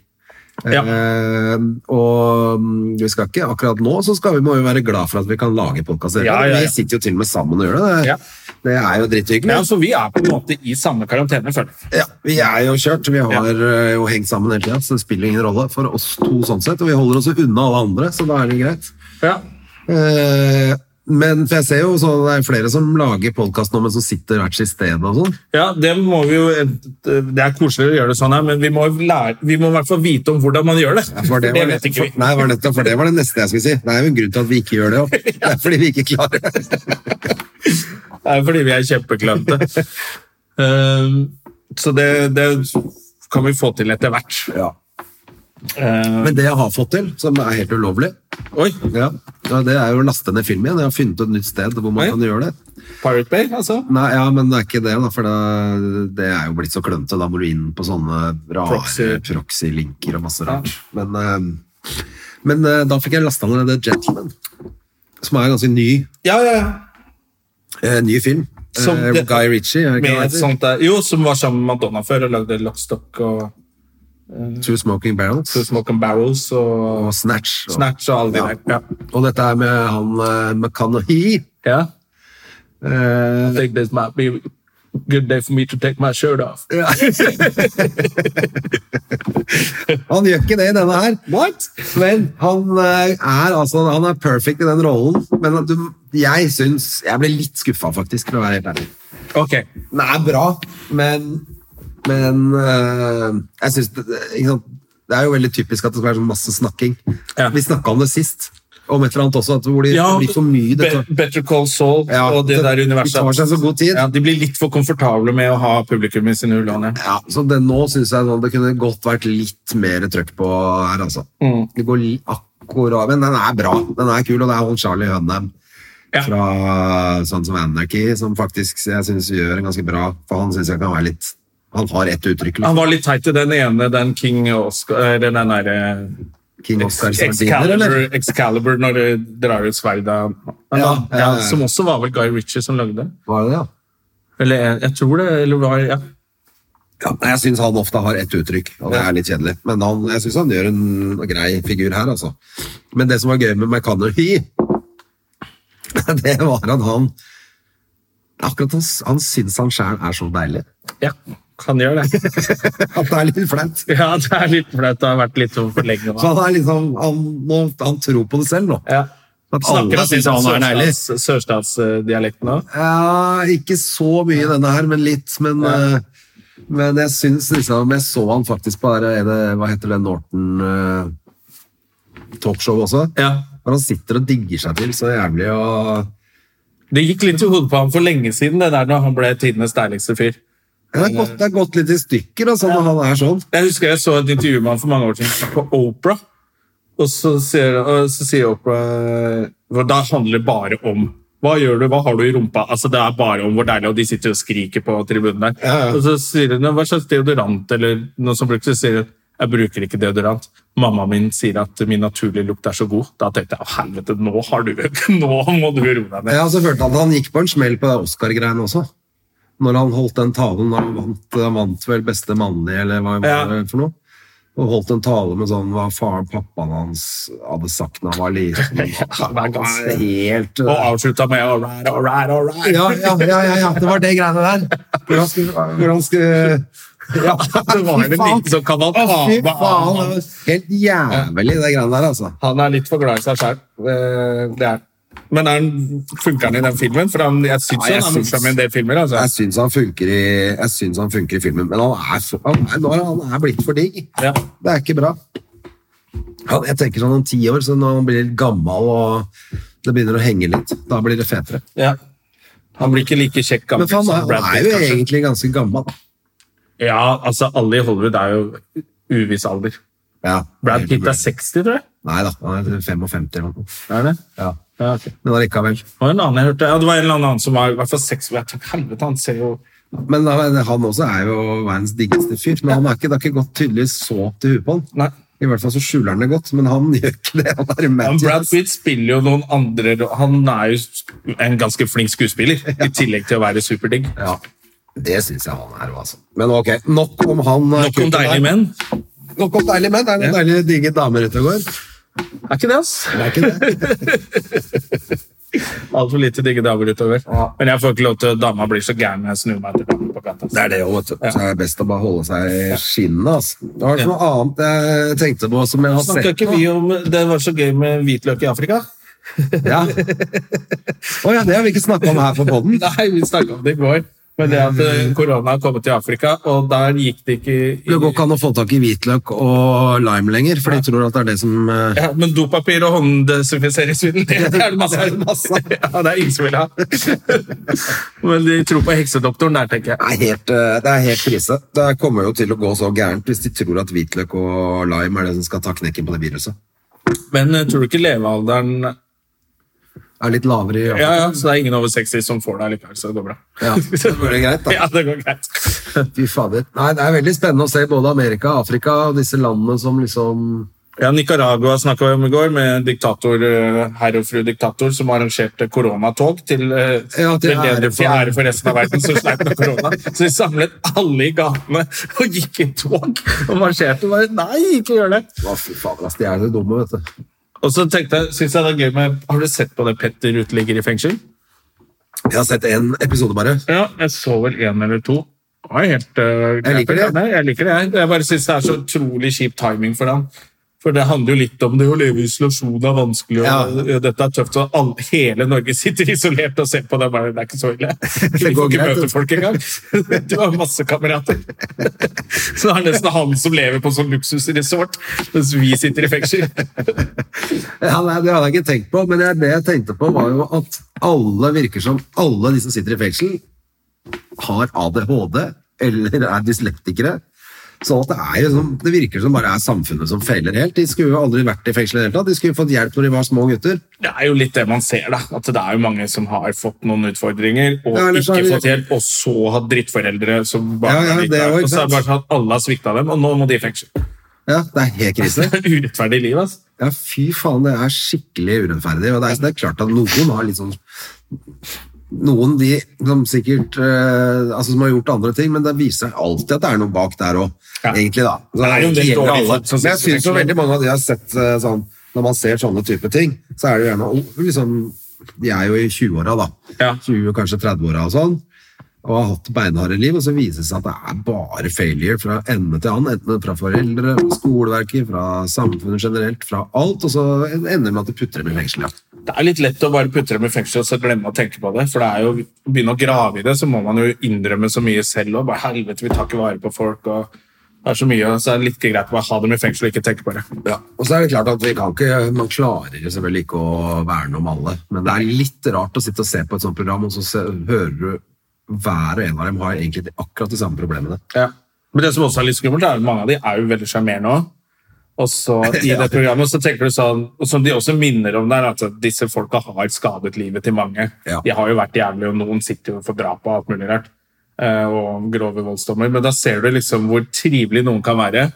Speaker 1: Ja.
Speaker 2: Eh, og mm, vi skal ikke akkurat nå, så skal vi må jo være glad for at vi kan lage podkaster.
Speaker 1: Ja, ja, ja.
Speaker 2: Vi sitter jo til og med sammen og gjør det. Det,
Speaker 1: Ja.
Speaker 2: det er jo dritthyggelig.
Speaker 1: ja, så vi er på en måte i samme karantene, føler jeg.
Speaker 2: Ja, vi er jo kjørt. Vi har
Speaker 1: Ja.
Speaker 2: eh, jo hengt sammen hele tida, så det spiller ingen rolle for oss to. sånn sett, Og vi holder oss jo unna alle andre, så da er det greit.
Speaker 1: Ja.
Speaker 2: Eh, men for jeg ser jo så det er flere som lager podkast nå, men som sitter hvert sitt sted og sånn.
Speaker 1: ja, det må vi jo Det er koseligere å gjøre det sånn her, men vi må, lære, vi må i hvert fall vite om hvordan man gjør det.
Speaker 2: For det, var
Speaker 1: vet ikke vi.
Speaker 2: for, nei, var nettopp, for det var det neste jeg skulle si. Det er jo en grunn til at vi ikke gjør det òg. Det er fordi vi ikke klarer det.
Speaker 1: Det er fordi vi er kjempeklemte. Ehm, så det, det kan vi få til etter hvert. Ehm,
Speaker 2: Men det jeg har fått til, som er helt ulovlig,
Speaker 1: oi!
Speaker 2: ja, ja, det er jo å laste ned film igjen. Jeg har funnet et nytt sted hvor man
Speaker 1: Oi.
Speaker 2: kan gjøre det.
Speaker 1: Pirate Bay, altså.
Speaker 2: Nei, ja, men det er ikke det, da, for det, det er jo blitt så klønete. Da må du inn på sånne rare
Speaker 1: Proxy.
Speaker 2: proxy-linker og masse rart. Men, eh, men eh, da fikk jeg lasta ned det Gentleman, som er en ganske ny,
Speaker 1: Ja, ja, ja.
Speaker 2: eh, ny film.
Speaker 1: Som
Speaker 2: Eh,
Speaker 1: det-
Speaker 2: Guy Ritchie, er det ikke
Speaker 1: Med
Speaker 2: han
Speaker 1: et
Speaker 2: heter?
Speaker 1: sånt der, jo, som var sammen med Madonna før og lagde Lockstock og
Speaker 2: Two Smoking Barrels
Speaker 1: Two Smoke and Barrels og
Speaker 2: og Snatch. Og,
Speaker 1: Snatch og alle de
Speaker 2: Ja.
Speaker 1: der.
Speaker 2: og dette er med han eh, McConaughey.
Speaker 1: Ja. Yeah. I
Speaker 2: Eh,
Speaker 1: think this might be a good day for me to take my shirt off.
Speaker 2: ja. han gjør ikke det i denne her.
Speaker 1: What?
Speaker 2: Men han eh, er altså Han er perfect i den rollen, men at du, jeg syns Jeg ble litt skuffa, faktisk, for å være helt ærlig.
Speaker 1: Ok.
Speaker 2: Den er bra, men Men eh, jeg syns det, det- ikke sant, det er jo veldig typisk at det skal være sånn masse snakking.
Speaker 1: Ja.
Speaker 2: Vi snakka om det sist, om et eller annet også, at hvor de, det blir for mye.
Speaker 1: Be-
Speaker 2: dette-
Speaker 1: Better Call Saul
Speaker 2: Ja,
Speaker 1: og det
Speaker 2: det-
Speaker 1: der universet.
Speaker 2: de tar seg så god tid.
Speaker 1: Ja, de blir litt for komfortable med å ha publikum i sine hullåner.
Speaker 2: Ja, så det, nå syns jeg sånn, det kunne godt vært litt mer trøkk på her, altså.
Speaker 1: Mm.
Speaker 2: Det går li- akkurat Men den er bra. Den er kul, og det er han Charlie Hunnam
Speaker 1: Ja.
Speaker 2: fra sånn som Anarchy, som faktisk jeg syns gjør en ganske bra For han syns jeg kan være litt Han har ett uttrykk. liksom.
Speaker 1: Han var litt teit i den ene, den King Oscar, eller den derre
Speaker 2: King Oscar Sardiner, eller?
Speaker 1: Excalibur, Excalibur når du drar ut sverdet. Men
Speaker 2: Ja,
Speaker 1: han-
Speaker 2: ja, ja.
Speaker 1: Som også var vel Guy Ritchie som lagde det.
Speaker 2: Var det det, ja?
Speaker 1: Eller jeg, jeg tror det. Eller hva ja.
Speaker 2: Ja, nei, jeg syns han ofte har ett uttrykk, og det er litt kjedelig. Men han, jeg syns han gjør en grei figur her, altså. Men det som var gøy med McConaughey, det var at han Akkurat han, han syns han sjæl er så deilig.
Speaker 1: ja, kan gjøre det.
Speaker 2: At det er litt flaut.
Speaker 1: Ja, det er litt flaut. Det har vært litt sånn for
Speaker 2: Så
Speaker 1: lenge nå.
Speaker 2: han er liksom Han, nå- han tror på det selv nå.
Speaker 1: Ja.
Speaker 2: At alle
Speaker 1: Snakker han
Speaker 2: synes
Speaker 1: litt om
Speaker 2: han er deilig.
Speaker 1: sørstatsdialekten sørstads eh, dialekten nå?
Speaker 2: Ja, ikke så mye i denne her, men litt. Men,
Speaker 1: Ja.
Speaker 2: eh, men jeg syns liksom Jeg så han faktisk på det, det, hva heter det, Norton eh, talkshow også.
Speaker 1: Ja.
Speaker 2: Hvor han sitter og digger seg til så jævlig og
Speaker 1: Det gikk litt i hodet på ham for lenge siden, det der når han ble tidenes deiligste fyr.
Speaker 2: ja, det, er gått, det er gått litt i stykker, altså, når han er sånn.
Speaker 1: Jeg husker jeg så et intervju med han for mange år siden på Opera. Og så sier, og så sier Opera for Da handler det bare om Hva gjør du? Hva har du i rumpa? Altså Det er bare om hvor deilig Og de sitter og skriker på tribunen der.
Speaker 2: Ja, ja.
Speaker 1: Og så sier hun hva slags deodorant eller noe som brukes. Så sier hun jeg bruker ikke deodorant. Mamma min sier at min naturlige lukt er så god. Da tenkte jeg å helvete, nå har du Nå må du roe deg ned.
Speaker 2: Ja, og så følte han at han gikk på en smell på det Oscar-greiene også. Når han holdt den talen da han vant, han vant vel beste mannlige, eller hva det var
Speaker 1: Ja.
Speaker 2: for noe. Og holdt en tale med sånn hva faren pappaen hans hadde sagt da han var liten.
Speaker 1: det er ganske-
Speaker 2: helt
Speaker 1: Og avslutta med all right, all right, all right.
Speaker 2: ja, ja, ja, ja, ja, det var det greiene der. Hvordan skulle, hvordan skulle ja,
Speaker 1: Det var det
Speaker 2: fy faen.
Speaker 1: liten sånn som kan ha
Speaker 2: Å, Fy
Speaker 1: taba
Speaker 2: faen,
Speaker 1: av.
Speaker 2: det var helt jævlig, det greiene der, altså.
Speaker 1: Han er litt for glad i seg sjøl. Det er han. Men er han, funker han i den filmen? For han, jeg syns
Speaker 2: Ja, jeg
Speaker 1: han er
Speaker 2: syns-
Speaker 1: morsom i en del filmer. Altså.
Speaker 2: Jeg syns han funker i, jeg syns han funker i filmen, men han er, så, han, er, nå er han han er blitt for digg.
Speaker 1: Ja.
Speaker 2: Det er ikke bra. Han, jeg tenker sånn om ti år, så når han blir litt gammel og det begynner å henge litt, da blir det fetere.
Speaker 1: Ja. Han blir ikke like kjekk gammel
Speaker 2: Men for han,
Speaker 1: som
Speaker 2: er,
Speaker 1: Brad
Speaker 2: han er
Speaker 1: Pitt,
Speaker 2: jo
Speaker 1: kanskje.
Speaker 2: egentlig ganske gammel. da.
Speaker 1: Ja, altså Alle i Hollywood er jo uviss alder.
Speaker 2: Ja.
Speaker 1: Brad Pitt er 60, tror jeg.
Speaker 2: Nei da, han er 55 eller noe.
Speaker 1: Er det?
Speaker 2: Ja.
Speaker 1: Ja, ok.
Speaker 2: Men allikevel.
Speaker 1: Det var en annen jeg hørte. Ja, det var en eller annen som var i hvert fall seks Jeg tenkte, helvete, han ser jo
Speaker 2: Men da- han også er jo verdens diggeste fyr. Men han er ikke, det har ikke gått tydeligvis så til huet på han.
Speaker 1: Nei.
Speaker 2: I hvert fall så skjuler han det godt, men han gjør ikke det. Han er
Speaker 1: Men Brad
Speaker 2: Matthews.
Speaker 1: Pitt spiller jo noen andre Han er jo en ganske flink skuespiller, i tillegg til å være superdigg.
Speaker 2: Ja, det syns jeg han er, altså. Men ok, nok om han. eh,
Speaker 1: Nok om deilige menn.
Speaker 2: Nok om deilige menn. Det er noen deilige, digge damer ute og går.
Speaker 1: Er ikke det, ass?
Speaker 2: Det er ikke det.
Speaker 1: Altfor lite digge damer utover. Men jeg får ikke lov til Dama blir så gæren når jeg snur meg til damen på gata.
Speaker 2: Det er det òg, vet du. Så det er best å bare holde seg i skinnet, altså. Det var
Speaker 1: Ja.
Speaker 2: noe annet jeg tenkte på som jeg har sett
Speaker 1: Snakka ikke vi om det var så gøy med hvitløk i Afrika?
Speaker 2: Ja. Å ja, det har vi ikke snakka om her på poden.
Speaker 1: Nei, vi snakka om det i går. Men det at eh, korona har kommet til Afrika, og der gikk det ikke i,
Speaker 2: Det går ikke an å få tak i hvitløk og lime lenger, for de tror at det er det som eh,
Speaker 1: ja, Men dopapir og hånddesinfiseringsmiddel, det det er det masse av. Ja, det er ingen som vil ha. Men de tror på heksedoktoren der, tenker jeg.
Speaker 2: er helt, eh, det er helt krise. Det kommer jo til å gå så gærent hvis de tror at hvitløk og lime er det som skal ta knekken på det viruset.
Speaker 1: Men eh, tror du ikke levealderen
Speaker 2: Er litt lavere i
Speaker 1: Ja, ja, så det er ingen over 60 som får det likevel, så det går bra.
Speaker 2: Ja, så går det greit, da.
Speaker 1: Ja, det går greit.
Speaker 2: Fy fader. Nei, det er veldig spennende å se både Amerika, Afrika og disse landene som liksom
Speaker 1: Ja, Nicaragua snakka vi om i går, med diktator, eh, herr og fru diktator, som arrangerte koronatog til, eh,
Speaker 2: Ja, til ære
Speaker 1: bedre- til
Speaker 2: for-
Speaker 1: ære for resten av verden som sleit med korona. Så de samlet alle i gatene og gikk i tog og marsjerte. Bare, Nei, ikke gjør det!
Speaker 2: Å, fy fader, ass, de er så dumme, vet du.
Speaker 1: Og så tenkte jeg, synes jeg det er gøy med Har du sett på det Petter uteligger i fengsel?
Speaker 2: Jeg har sett én episode, bare.
Speaker 1: Ja, jeg så vel én eller to. Det var helt eh,
Speaker 2: Jeg liker det.
Speaker 1: Nei, Jeg liker det, jeg. Jeg bare syns det er så utrolig kjip timing for han. For det handler jo litt om det å leve i isolasjon er vanskelig, og eh, dette er tøft. Og alle, hele Norge sitter isolert og ser på det. Bare, det er ikke så ille. Vi
Speaker 2: går
Speaker 1: får ikke
Speaker 2: greit,
Speaker 1: møte
Speaker 2: det.
Speaker 1: folk engang. Du har masse kamerater. Så det er nesten han som lever på sånn luksusresort, mens vi sitter i fengsel.
Speaker 2: Ja, nei, det hadde jeg ikke tenkt på, men det, det jeg tenkte på, var jo at alle virker som alle de som sitter i fengsel, har ADHD eller er dyslektikere. Sånn at det, er jo sånn, det virker som bare er samfunnet som feiler helt. De skulle jo aldri vært i fengsel i det hele tatt. De skulle jo fått hjelp når de var små gutter.
Speaker 1: Det er jo litt det man ser, da. At det er jo mange som har fått noen utfordringer og
Speaker 2: Ja, ellers
Speaker 1: ikke
Speaker 2: er det-
Speaker 1: fått hjelp, og så hatt drittforeldre som barna
Speaker 2: Ja, ja,
Speaker 1: ikke
Speaker 2: det er
Speaker 1: har.
Speaker 2: jo ikke
Speaker 1: Og så er det
Speaker 2: sant.
Speaker 1: bare sånn at alle har svikta dem, og nå må de i fengsel.
Speaker 2: Ja, det er helt krise.
Speaker 1: Det er urettferdig liv, altså.
Speaker 2: Ja, fy faen, det er skikkelig urettferdig. Og det er, det er klart at noen har litt sånn noen de som sikkert eh, altså som har gjort andre ting, men det viser seg alltid at det er noe bak der òg,
Speaker 1: Ja.
Speaker 2: egentlig. da. Så
Speaker 1: Det er jo en del
Speaker 2: gjelder
Speaker 1: dårlige
Speaker 2: alle.
Speaker 1: folk som
Speaker 2: Men jeg
Speaker 1: sitter
Speaker 2: synes jo
Speaker 1: fengslet.
Speaker 2: veldig mange av de jeg har sett eh, sånn Når man ser sånne type ting, så er det jo gjerne oh, liksom, De er jo i 20-åra, da.
Speaker 1: Ja.
Speaker 2: 20, kanskje 30-åra og sånn. Og har hatt beinharde liv, og så viser det seg at det er bare failure fra ende til annen. Enten fra foreldre, fra skoleverket, fra samfunnet generelt, fra alt. Og så ender det med at det putter dem i fengsel. Ja.
Speaker 1: Det er litt lett å bare putte dem i fengsel og så glemme å tenke på det. For det er jo, begynne å grave i det, så må man jo innrømme så mye selv og bare helvete, vi tar ikke vare på folk og det er så mye, og så er det litt greit å bare ha dem i fengsel og ikke tenke på det.
Speaker 2: Ja, og så er det klart at vi kan ikke, Man klarer jo selvfølgelig ikke å verne om alle, men det er litt rart å sitte og se på et sånt program, og så se, hører du hver og en av dem har egentlig de- akkurat de samme problemene.
Speaker 1: Men det som også er litt skummelt, er at mange av de er jo veldig sjarmerende òg. Og så i det programmet så tenker du sånn, og som de også minner om der, at disse folka har skadet livet til mange.
Speaker 2: Ja.
Speaker 1: De har jo vært jævlige, og noen sitter jo for drap og alt mulig rart. eh, Og grove voldsdommer. Men da ser du liksom hvor trivelig noen kan være.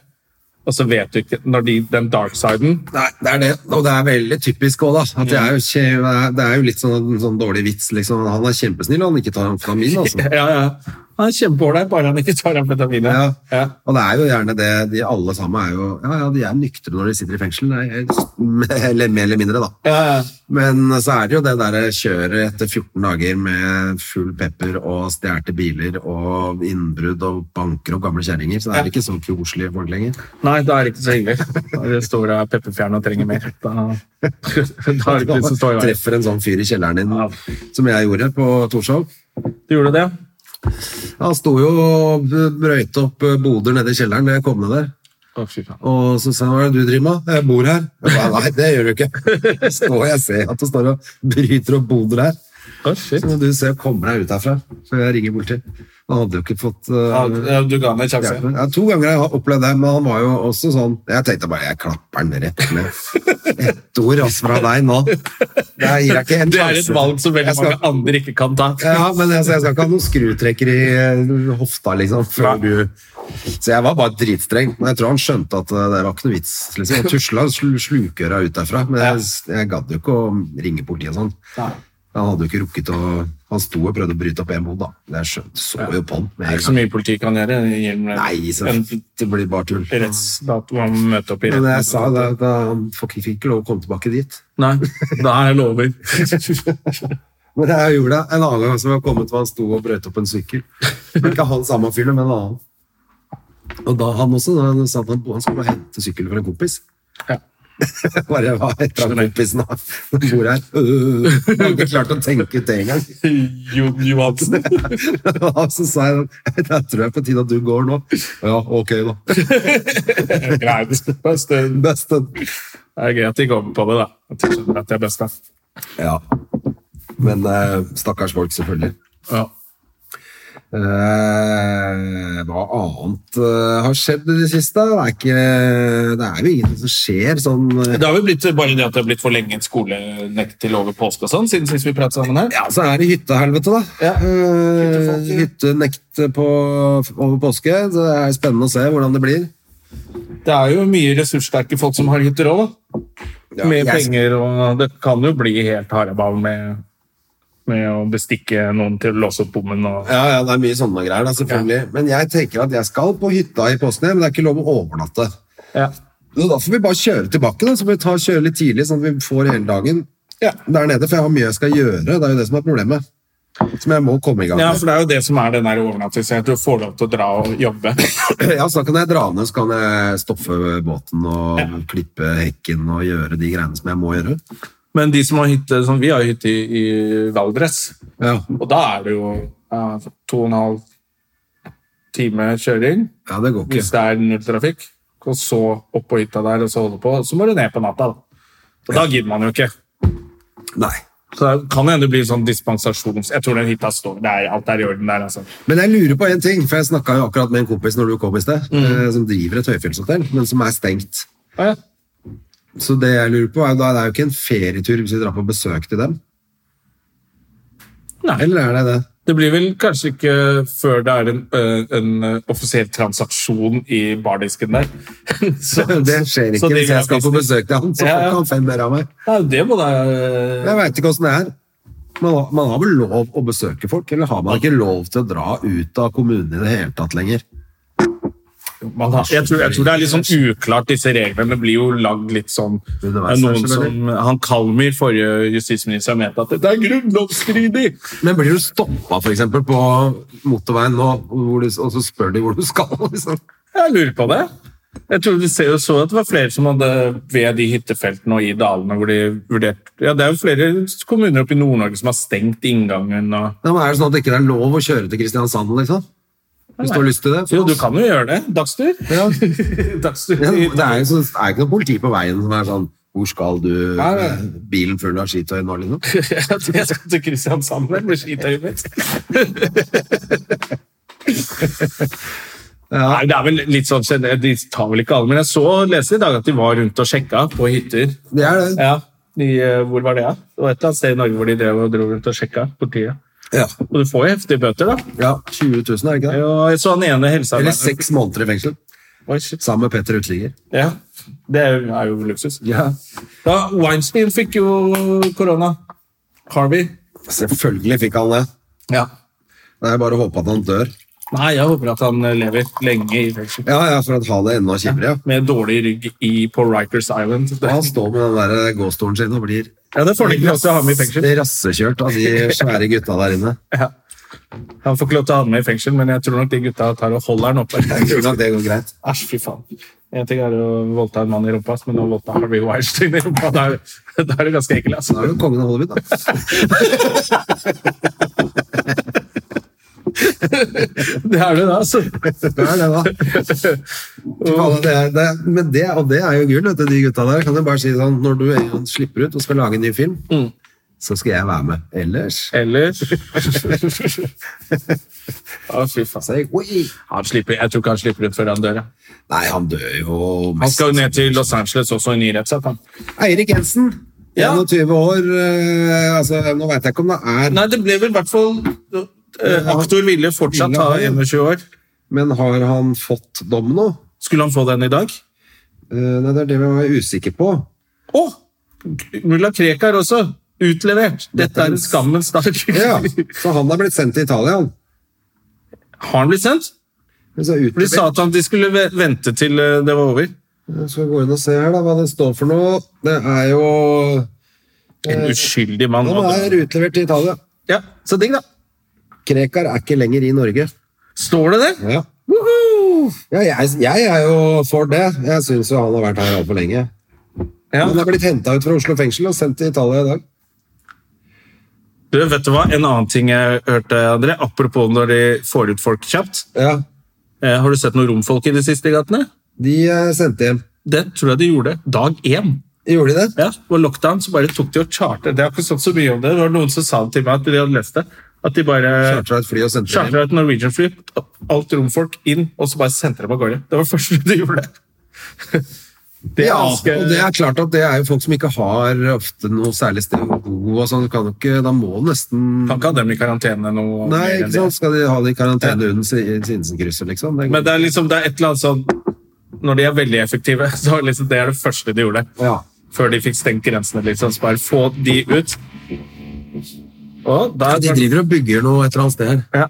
Speaker 1: Og så vet du ikke når de, Den dark siden
Speaker 2: Nei, det er det, og det er veldig typisk òg, da. At det, er jo, kje- det er jo litt sånn, en sånn dårlig vits, liksom. Han er kjempesnill, han ikke tar amfetamin, altså.
Speaker 1: Ja, ja. Han er kjempeålreit, bare han ikke tar amfetamin.
Speaker 2: Ja.
Speaker 1: Ja.
Speaker 2: Og det er jo gjerne det, de alle sammen er jo Ja, ja, de er nyktre når de sitter i fengsel, det er- eller mer eller mindre, da.
Speaker 1: Ja, ja.
Speaker 2: Men så er det jo det der kjøret etter 14 dager med full pepper og stjerte biler og innbrudd og banker opp gamle kjerringer, så det er ikke så koselige folk lenger.
Speaker 1: Nei, da er det ikke så hyggelig. Da er det står og er pepperfjern og trenger mer. Da, da er det ikke som står i veien.
Speaker 2: Treffer en sånn fyr i kjelleren din,
Speaker 1: Ja.
Speaker 2: som jeg gjorde på Torshov.
Speaker 1: Du gjorde det?
Speaker 2: Han sto jo og brøyte opp eh, boder nede i kjelleren da jeg kom ned der.
Speaker 1: Å, fy faen.
Speaker 2: Og så sa han, hva er det du driver med? Jeg bor her. Jeg ba, Nei, det gjør du ikke. Står jeg ser at du står og bryter opp boder her.
Speaker 1: Å, shit.
Speaker 2: Så må du se å komme deg ut herfra, så jeg ringer politiet. Han hadde jo ikke fått
Speaker 1: Ja,
Speaker 2: eh,
Speaker 1: ja, du ga han en sjanse.
Speaker 2: hjelper. Ja, to ganger har jeg opplevd det, men han var jo også sånn Jeg tenkte bare jeg klapper den rett med ett ord ass, fra deg nå. Det her gir jeg ikke en
Speaker 1: Det er et
Speaker 2: sjanse.
Speaker 1: valg som veldig
Speaker 2: Jeg skal-
Speaker 1: mange andre ikke kan ta.
Speaker 2: Ja, men altså, jeg skal ikke ha noen skrutrekker i eh, hofta, liksom. Før du Så jeg var bare dritstreng. Men jeg tror han skjønte at eh, det var ikke noe vits. Liksom. Jeg tusla sl slukøra ut derfra, men jeg, jeg gadd jo ikke å ringe politiet og sånn. Han hadde jo ikke rukket å Han sto og prøvde å bryte opp en bod, da. Jeg skjønte, så jo på han. med
Speaker 1: Det er
Speaker 2: en
Speaker 1: ikke så
Speaker 2: gang.
Speaker 1: mye politi kan gjøre. Det gir dem
Speaker 2: Nei, så
Speaker 1: en
Speaker 2: det blir bare tull.
Speaker 1: rettsdato man må møte opp i
Speaker 2: Men jeg sa
Speaker 1: retten.
Speaker 2: da, da han fikk fikk ikke lov å komme tilbake dit.
Speaker 1: Nei, da er jeg lover.
Speaker 2: Men jeg gjorde det en annen gang som jeg kom ut, var han sto og brøt opp en sykkel. Men Ikke han samme fyren, men en annen. Og da han også, da sa han at han skulle bare hente sykkelen fra en kompis.
Speaker 1: Ja.
Speaker 2: Bare hva heter han
Speaker 1: Skjønner.
Speaker 2: kompisen da? som bor her? Øh, jeg hadde ikke klart å tenke ut det engang.
Speaker 1: Jon Johansen.
Speaker 2: Og så sa jeg da tror jeg på tide at du går nå. Ja, ok da.
Speaker 1: Greit. Det
Speaker 2: Beste.
Speaker 1: er gøy at de går med på det, da. At de skjønner at de er best, da.
Speaker 2: Ja. Men eh, stakkars folk, selvfølgelig.
Speaker 1: Ja.
Speaker 2: Eh, hva annet eh, har skjedd i det siste? Det er, ikke, det er jo ingenting som skjer sånn eh,
Speaker 1: Det har vel blitt bare det at det har blitt forlenget skolenekt til over påske og sånn, siden sist vi pratet sammen her.
Speaker 2: Ja, så er det hyttehelvete, da.
Speaker 1: Ja.
Speaker 2: Eh,
Speaker 1: Hyttefolk, ja.
Speaker 2: Hyttenekt på, over påske. Det er spennende å se hvordan det blir.
Speaker 1: Det er jo mye ressurssterke folk som har hytter òg, da.
Speaker 2: Ja,
Speaker 1: med
Speaker 2: jeg-
Speaker 1: penger og Det kan jo bli helt haraball med, med å bestikke noen til å låse opp bommen og
Speaker 2: Ja, ja, det er mye sånne greier, da, selvfølgelig. Men jeg tenker at jeg skal på hytta i påsken, men det er ikke lov å overnatte.
Speaker 1: ja.
Speaker 2: Så da får vi bare kjøre tilbake, da. Så får vi ta, kjøre litt tidlig, sånn at vi får hele dagen
Speaker 1: Ja.
Speaker 2: der nede. For jeg har mye jeg skal gjøre. Det er jo det som er problemet. Som jeg må komme i gang
Speaker 1: ja,
Speaker 2: med.
Speaker 1: for det er jo det som er den der overnattelsen. at Du får lov til å dra og jobbe.
Speaker 2: Ja, så da kan jeg dra ned, så kan jeg stoppe båten og klippe hekken og gjøre de greiene som jeg må gjøre.
Speaker 1: Men de som har hytte sånn, Vi har jo hytte i, i Valdres,
Speaker 2: Ja,
Speaker 1: og da er det jo ja, altså to og en halv time kjøring.
Speaker 2: ja det går
Speaker 1: hvis
Speaker 2: ikke.
Speaker 1: det er nulltrafikk, og så opp på hytta der, og så holde på, og så må du ned på natta. Da, og da gidder man jo ikke.
Speaker 2: Nei.
Speaker 1: Så det kan hende det blir sånn dispensasjons... Jeg tror den hytta står der, alt er i orden der, altså.
Speaker 2: Men jeg lurer på en ting, for jeg snakka jo akkurat med en kompis når du kom i sted,
Speaker 1: Mm.
Speaker 2: eh, som driver et høyfjellshotell, men som er stengt.
Speaker 1: Å, ja.
Speaker 2: Så det jeg lurer på er, da er det jo ikke en ferietur hvis vi drar på besøk til dem.
Speaker 1: Nei.
Speaker 2: Eller er det det?
Speaker 1: Det blir vel kanskje ikke før det er en, ø, en ø, offisiell transaksjon i bardisken der. så,
Speaker 2: Det skjer
Speaker 1: så
Speaker 2: ikke
Speaker 1: de
Speaker 2: hvis jeg skal på
Speaker 1: gratisene-
Speaker 2: besøk til han, så
Speaker 1: Ja,
Speaker 2: får
Speaker 1: ja.
Speaker 2: ikke han fem mer av meg.
Speaker 1: Nei, det må da
Speaker 2: Jeg veit ikke åssen det er. man, har- man har vel lov å besøke folk, eller har man ikke lov til å dra ut av kommunen i det hele tatt lenger?
Speaker 1: Man har, jeg, tror, jeg tror det er litt sånn uklart, disse reglene blir jo lagd litt sånn
Speaker 2: Underveis,
Speaker 1: det er noen
Speaker 2: selvfølgelig.
Speaker 1: som, Han Kalmyr, forrige justisminister, mente at dette er grunnlovsstridig!
Speaker 2: Men blir du stoppa for eksempel, på motorveien nå, hvor du, og så spør de hvor du skal? Liksom.
Speaker 1: Jeg lurer på det. Jeg tror vi ser jo så at det var flere som hadde ved de hyttefeltene og i dalene hvor de vurderte Ja, det er jo flere kommuner oppe i Nord-Norge som har stengt inngangen og
Speaker 2: Ja, men er det sånn at det ikke er lov å kjøre til Kristiansand, liksom? Hvis du har lyst til det?
Speaker 1: Jo, du kan jo gjøre det. Dagstur.
Speaker 2: Ja.
Speaker 1: Dagstur.
Speaker 2: Ja, det er jo så, det er ikke noe politi på veien som er sånn Hvor skal du
Speaker 1: Nei, nei.
Speaker 2: med bilen full av skitøy nå, liksom?
Speaker 1: Jeg skal til Kristiansand med med skitøyet mitt. Nei, det er vel litt sånn, generelt, De tar vel ikke alle, men jeg så og leste i dag at de var rundt og sjekka på hytter.
Speaker 2: Det er det.
Speaker 1: Ja, de, eh, Hvor var det? Ja? Det var et eller annet sted i Norge hvor de drev og dro rundt og sjekka politiet.
Speaker 2: Ja.
Speaker 1: Og du får jo heftige bøter, da.
Speaker 2: ja 20 000, er det ikke det?
Speaker 1: Og jeg så han ene
Speaker 2: Eller
Speaker 1: helsearbeideren
Speaker 2: seks måneder i fengsel.
Speaker 1: Oi, shit.
Speaker 2: Sammen med Petter Uteligger.
Speaker 1: Ja, Det er jo- er jo luksus.
Speaker 2: Ja.
Speaker 1: Da, Weinstein fikk jo korona. Harvey.
Speaker 2: Selvfølgelig fikk han det.
Speaker 1: Ja.
Speaker 2: Det er bare å håpe at han dør.
Speaker 1: Nei, jeg håper at han lever lenge i fengsel.
Speaker 2: Ja, ja, for å ha det enda kjipere. Ja.
Speaker 1: Med dårlig rygg i, på Rikers Island.
Speaker 2: Og Han står med den der eh, gåstolen sin og blir
Speaker 1: Ja, Det får han ikke lov til å ha med i fengsel.
Speaker 2: rassekjørt av de svære gutta der inne.
Speaker 1: Ja. Han får ikke lov til å ha den med i fengsel, men jeg tror nok de gutta tar og holder den oppe.
Speaker 2: Jeg tror nok det går greit.
Speaker 1: Æsj, fy faen. En ting er å voldta en mann i rumpa, men å voldta Harvey Weinstein i rumpa, da er, da er det ganske ekkelt.
Speaker 2: Da
Speaker 1: Altså.
Speaker 2: er du kongen av Hollywood, da.
Speaker 1: Det er det, da. Altså.
Speaker 2: Det er det, da. Fy faen, Det er, det, er- men det, og det er jo gull, vet du, de gutta der. Kan jo bare si sånn, når du en gang slipper ut og skal lage en ny film,
Speaker 1: Mm.
Speaker 2: så skal jeg være med. Ellers
Speaker 1: Eller Å, fy faen.
Speaker 2: så er jeg, altså, oi.
Speaker 1: Han slipper, jeg tror ikke han slipper ut før han dør. ja.
Speaker 2: Nei, han dør jo
Speaker 1: Han
Speaker 2: mest.
Speaker 1: skal jo ned til Los Angeles også i ny rettssak. han.
Speaker 2: Eirik Jensen,
Speaker 1: Ja.
Speaker 2: 21 år. eh, altså, nå veit jeg ikke om det er
Speaker 1: Nei, det ble vel i hvert fall eh, Aktor ville fortsatt ha 21 år.
Speaker 2: Men har han fått dom nå?
Speaker 1: Skulle han få den i dag?
Speaker 2: Eh, nei, det er det vi var usikre på.
Speaker 1: Å! Mulla Krekar også. Utlevert. Dette er en skammens dag.
Speaker 2: Ja, Så han er blitt sendt til Italia, han.
Speaker 1: Har han blitt sendt?
Speaker 2: Men så
Speaker 1: For De sa at han- de skulle ve- vente til eh, det var over.
Speaker 2: Jeg skal gå inn og se her da, hva det står for noe. Det er jo
Speaker 1: En uskyldig mann.
Speaker 2: Han er utlevert til Italia.
Speaker 1: Ja, Så digg, da.
Speaker 2: Krekar er ikke lenger i Norge.
Speaker 1: Står det det?
Speaker 2: Ja,
Speaker 1: Woohoo!
Speaker 2: ja jeg, jeg er jo for det. Jeg syns jo han har vært her altfor lenge.
Speaker 1: Ja.
Speaker 2: Han er blitt henta ut fra Oslo fengsel og sendt til Italia i dag.
Speaker 1: Du, vet du hva? En annen ting jeg hørte, André, apropos når de får ut folk kjapt.
Speaker 2: Ja,
Speaker 1: Eh, har du sett noen romfolk i de siste gatene?
Speaker 2: De eh, sendte hjem.
Speaker 1: Det tror jeg de gjorde dag én.
Speaker 2: Gjorde de det?
Speaker 1: Ja, det var lockdown, så bare tok de og charter. Det har ikke stått så mye om det. Det var noen som sa det til meg at de hadde lest det. At de bare
Speaker 2: Chartra et fly og sendte dem hjem.
Speaker 1: chartra et Norwegian-fly, alt romfolk inn, og så bare sendte dem av gårde. Det var det første de gjorde. Det er
Speaker 2: Ja,
Speaker 1: ganske-
Speaker 2: og det er klart at det er jo folk som ikke har ofte noe særlig sted å bo. og sånn. Du Kan jo ikke, da må du nesten
Speaker 1: Kan ikke ha dem i karantene
Speaker 2: Nei,
Speaker 1: noe mer enn
Speaker 2: ikke
Speaker 1: det.
Speaker 2: sant? Skal de ha det i karantene under Sinsenkrysset, liksom? Det-
Speaker 1: Men det er liksom det er et eller annet sånn Når de er veldig effektive, så er liksom, det er det første de gjorde.
Speaker 2: ja.
Speaker 1: Før de fikk stengt grensene, liksom. Så bare få de ut. Og der
Speaker 2: De driver og bygger noe et eller annet sted her.
Speaker 1: ja.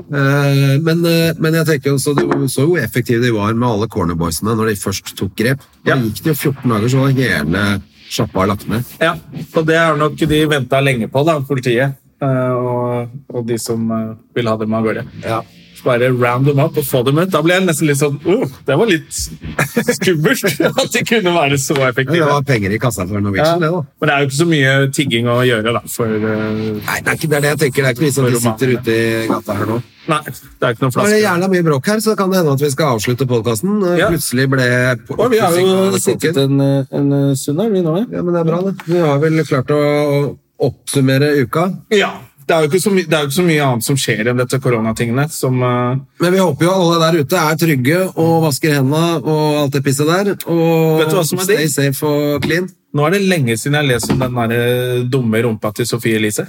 Speaker 2: Eh, Men, eh, men jeg tenker også, du så jo hvor effektive de var med alle cornerboysene når de først tok grep. Da
Speaker 1: Ja.
Speaker 2: gikk det jo 14 dager, så var hele sjappa lagt ned.
Speaker 1: Ja, og det er nok de venta lenge på, da, politiet. eh, Og, og de som eh, vil ha dem av gårde. Så Bare round dem opp og få dem ut. Da ble jeg nesten litt sånn uh, Det var litt skummelt at de kunne være så
Speaker 2: Ja, Det
Speaker 1: effektive.
Speaker 2: var penger i kassa for
Speaker 1: Ja.
Speaker 2: Norwegian, det da.
Speaker 1: Men det er jo ikke så mye tigging å gjøre, da. For eh,
Speaker 2: Nei, det er ikke det, er det jeg tenker. Det er ikke vi som de sitter ute i gata her nå.
Speaker 1: Nei, det er ikke noen
Speaker 2: Nå er det
Speaker 1: flasker.
Speaker 2: jævla mye bråk her, så det kan det hende at vi skal avslutte podkasten.
Speaker 1: Ja.
Speaker 2: Plutselig ble
Speaker 1: Og vi har jo sittet
Speaker 2: Ja,
Speaker 1: en, eh, en stund her, vi nå. ja.
Speaker 2: men det er bra, det. Vi har vel klart å oppsummere uka.
Speaker 1: Ja. Det er jo ikke så, my det er jo ikke så mye annet som skjer enn dette koronatingene. som... eh,
Speaker 2: Men vi håper jo alle der ute er trygge og vasker hendene og alt det pisset der. Og
Speaker 1: Vet du hva som er
Speaker 2: stay
Speaker 1: digg?
Speaker 2: safe og clean.
Speaker 1: Nå er det lenge siden jeg har lest om den der eh, dumme rumpa til Sofie Elise.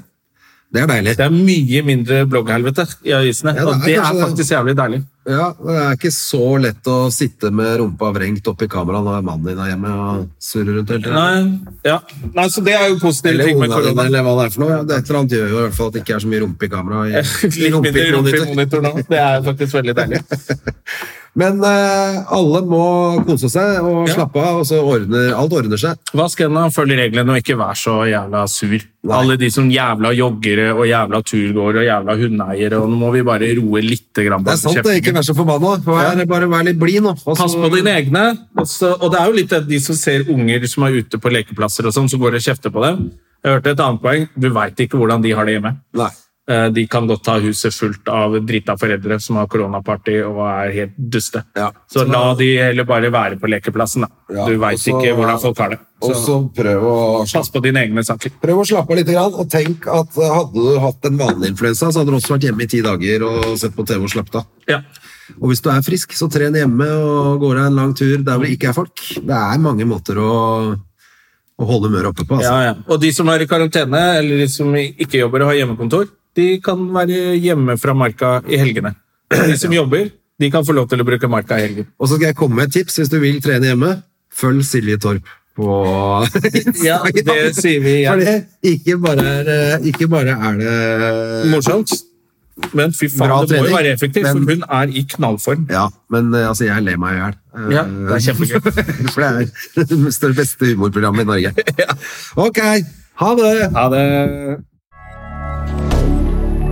Speaker 2: Det er deilig.
Speaker 1: Det er mye mindre blogghelvete i
Speaker 2: Ja,
Speaker 1: avisene,
Speaker 2: det er
Speaker 1: og det
Speaker 2: kanskje
Speaker 1: er
Speaker 2: det.
Speaker 1: faktisk jævlig deilig.
Speaker 2: Ja, det er ikke så lett å sitte med rumpa vrengt oppi kameraet når mannen din er hjemme og surrer rundt hele tiden.
Speaker 1: Nei, ja. Nei, så det er jo positive
Speaker 2: Eller
Speaker 1: ting med
Speaker 2: ungene dine,
Speaker 1: korona.
Speaker 2: eller hva det er for noe. Ja, Det er et eller annet gjør jo i hvert fall at det ikke er så mye rumpe i kameraet. i-
Speaker 1: Litt
Speaker 2: rumpe i
Speaker 1: mindre rumpe i
Speaker 2: monitor.
Speaker 1: monitor nå. Det er faktisk veldig deilig.
Speaker 2: Men eh, alle må kose seg og
Speaker 1: Ja.
Speaker 2: slappe av, og så ordner alt ordner seg.
Speaker 1: Vask hendene, følg reglene, og ikke vær så jævla sur. Alle de som jævla joggere og jævla turgåere og jævla hundeeiere, og nå må vi bare roe litt grann
Speaker 2: Det er sant, det. Ikke vær så forbanna. Vær, bare vær litt blid nå. og så-
Speaker 1: Altså, Pass på dine egne. Og, så, og det er jo litt det, de som ser unger som er ute på lekeplasser og sånn, så går og kjefter på dem. Jeg hørte et annet poeng. Du veit ikke hvordan de har det hjemme.
Speaker 2: Nei.
Speaker 1: Eh, De kan godt ha huset fullt av drita foreldre som har koronaparty og er helt duste.
Speaker 2: Ja.
Speaker 1: Så la de heller bare være på lekeplassen, da.
Speaker 2: Ja,
Speaker 1: Du
Speaker 2: og
Speaker 1: veit
Speaker 2: så-
Speaker 1: ikke hvordan folk har det.
Speaker 2: Og
Speaker 1: Så
Speaker 2: så prøv å
Speaker 1: pass på dine egne saker.
Speaker 2: Prøv å slappe av litt, grann, og tenk at eh, hadde du hatt en vanlig influensa, så hadde du også vært hjemme i ti dager og sett på TV og slappet av.
Speaker 1: Ja.
Speaker 2: Og hvis du er frisk, så tren hjemme og gå deg en lang tur der hvor det ikke er folk. Det er mange måter å, å holde humøret oppe på.
Speaker 1: Ja,
Speaker 2: Altså.
Speaker 1: ja. Og de som er i karantene, eller de som ikke jobber og har hjemmekontor, de kan være hjemme fra marka i helgene. De som jobber, de kan få lov til å bruke marka i helgen.
Speaker 2: Og så skal jeg komme med et tips hvis du vil trene hjemme. Følg Silje Torp på Instagram.
Speaker 1: Ja, det sier vi igjen.
Speaker 2: Fordi ikke bare er, eh, ikke bare er det
Speaker 1: Morsomt. Men fy faen,
Speaker 2: Bra
Speaker 1: det må
Speaker 2: trening,
Speaker 1: jo være effektivt,
Speaker 2: men-
Speaker 1: for hun er i knallform.
Speaker 2: Ja, men eh, altså, jeg ler meg i hjel. Eh,
Speaker 1: Ja, det er kjempegøy.
Speaker 2: For det er det største- beste humorprogrammet i Norge. Ok, ha det!
Speaker 1: Ha det.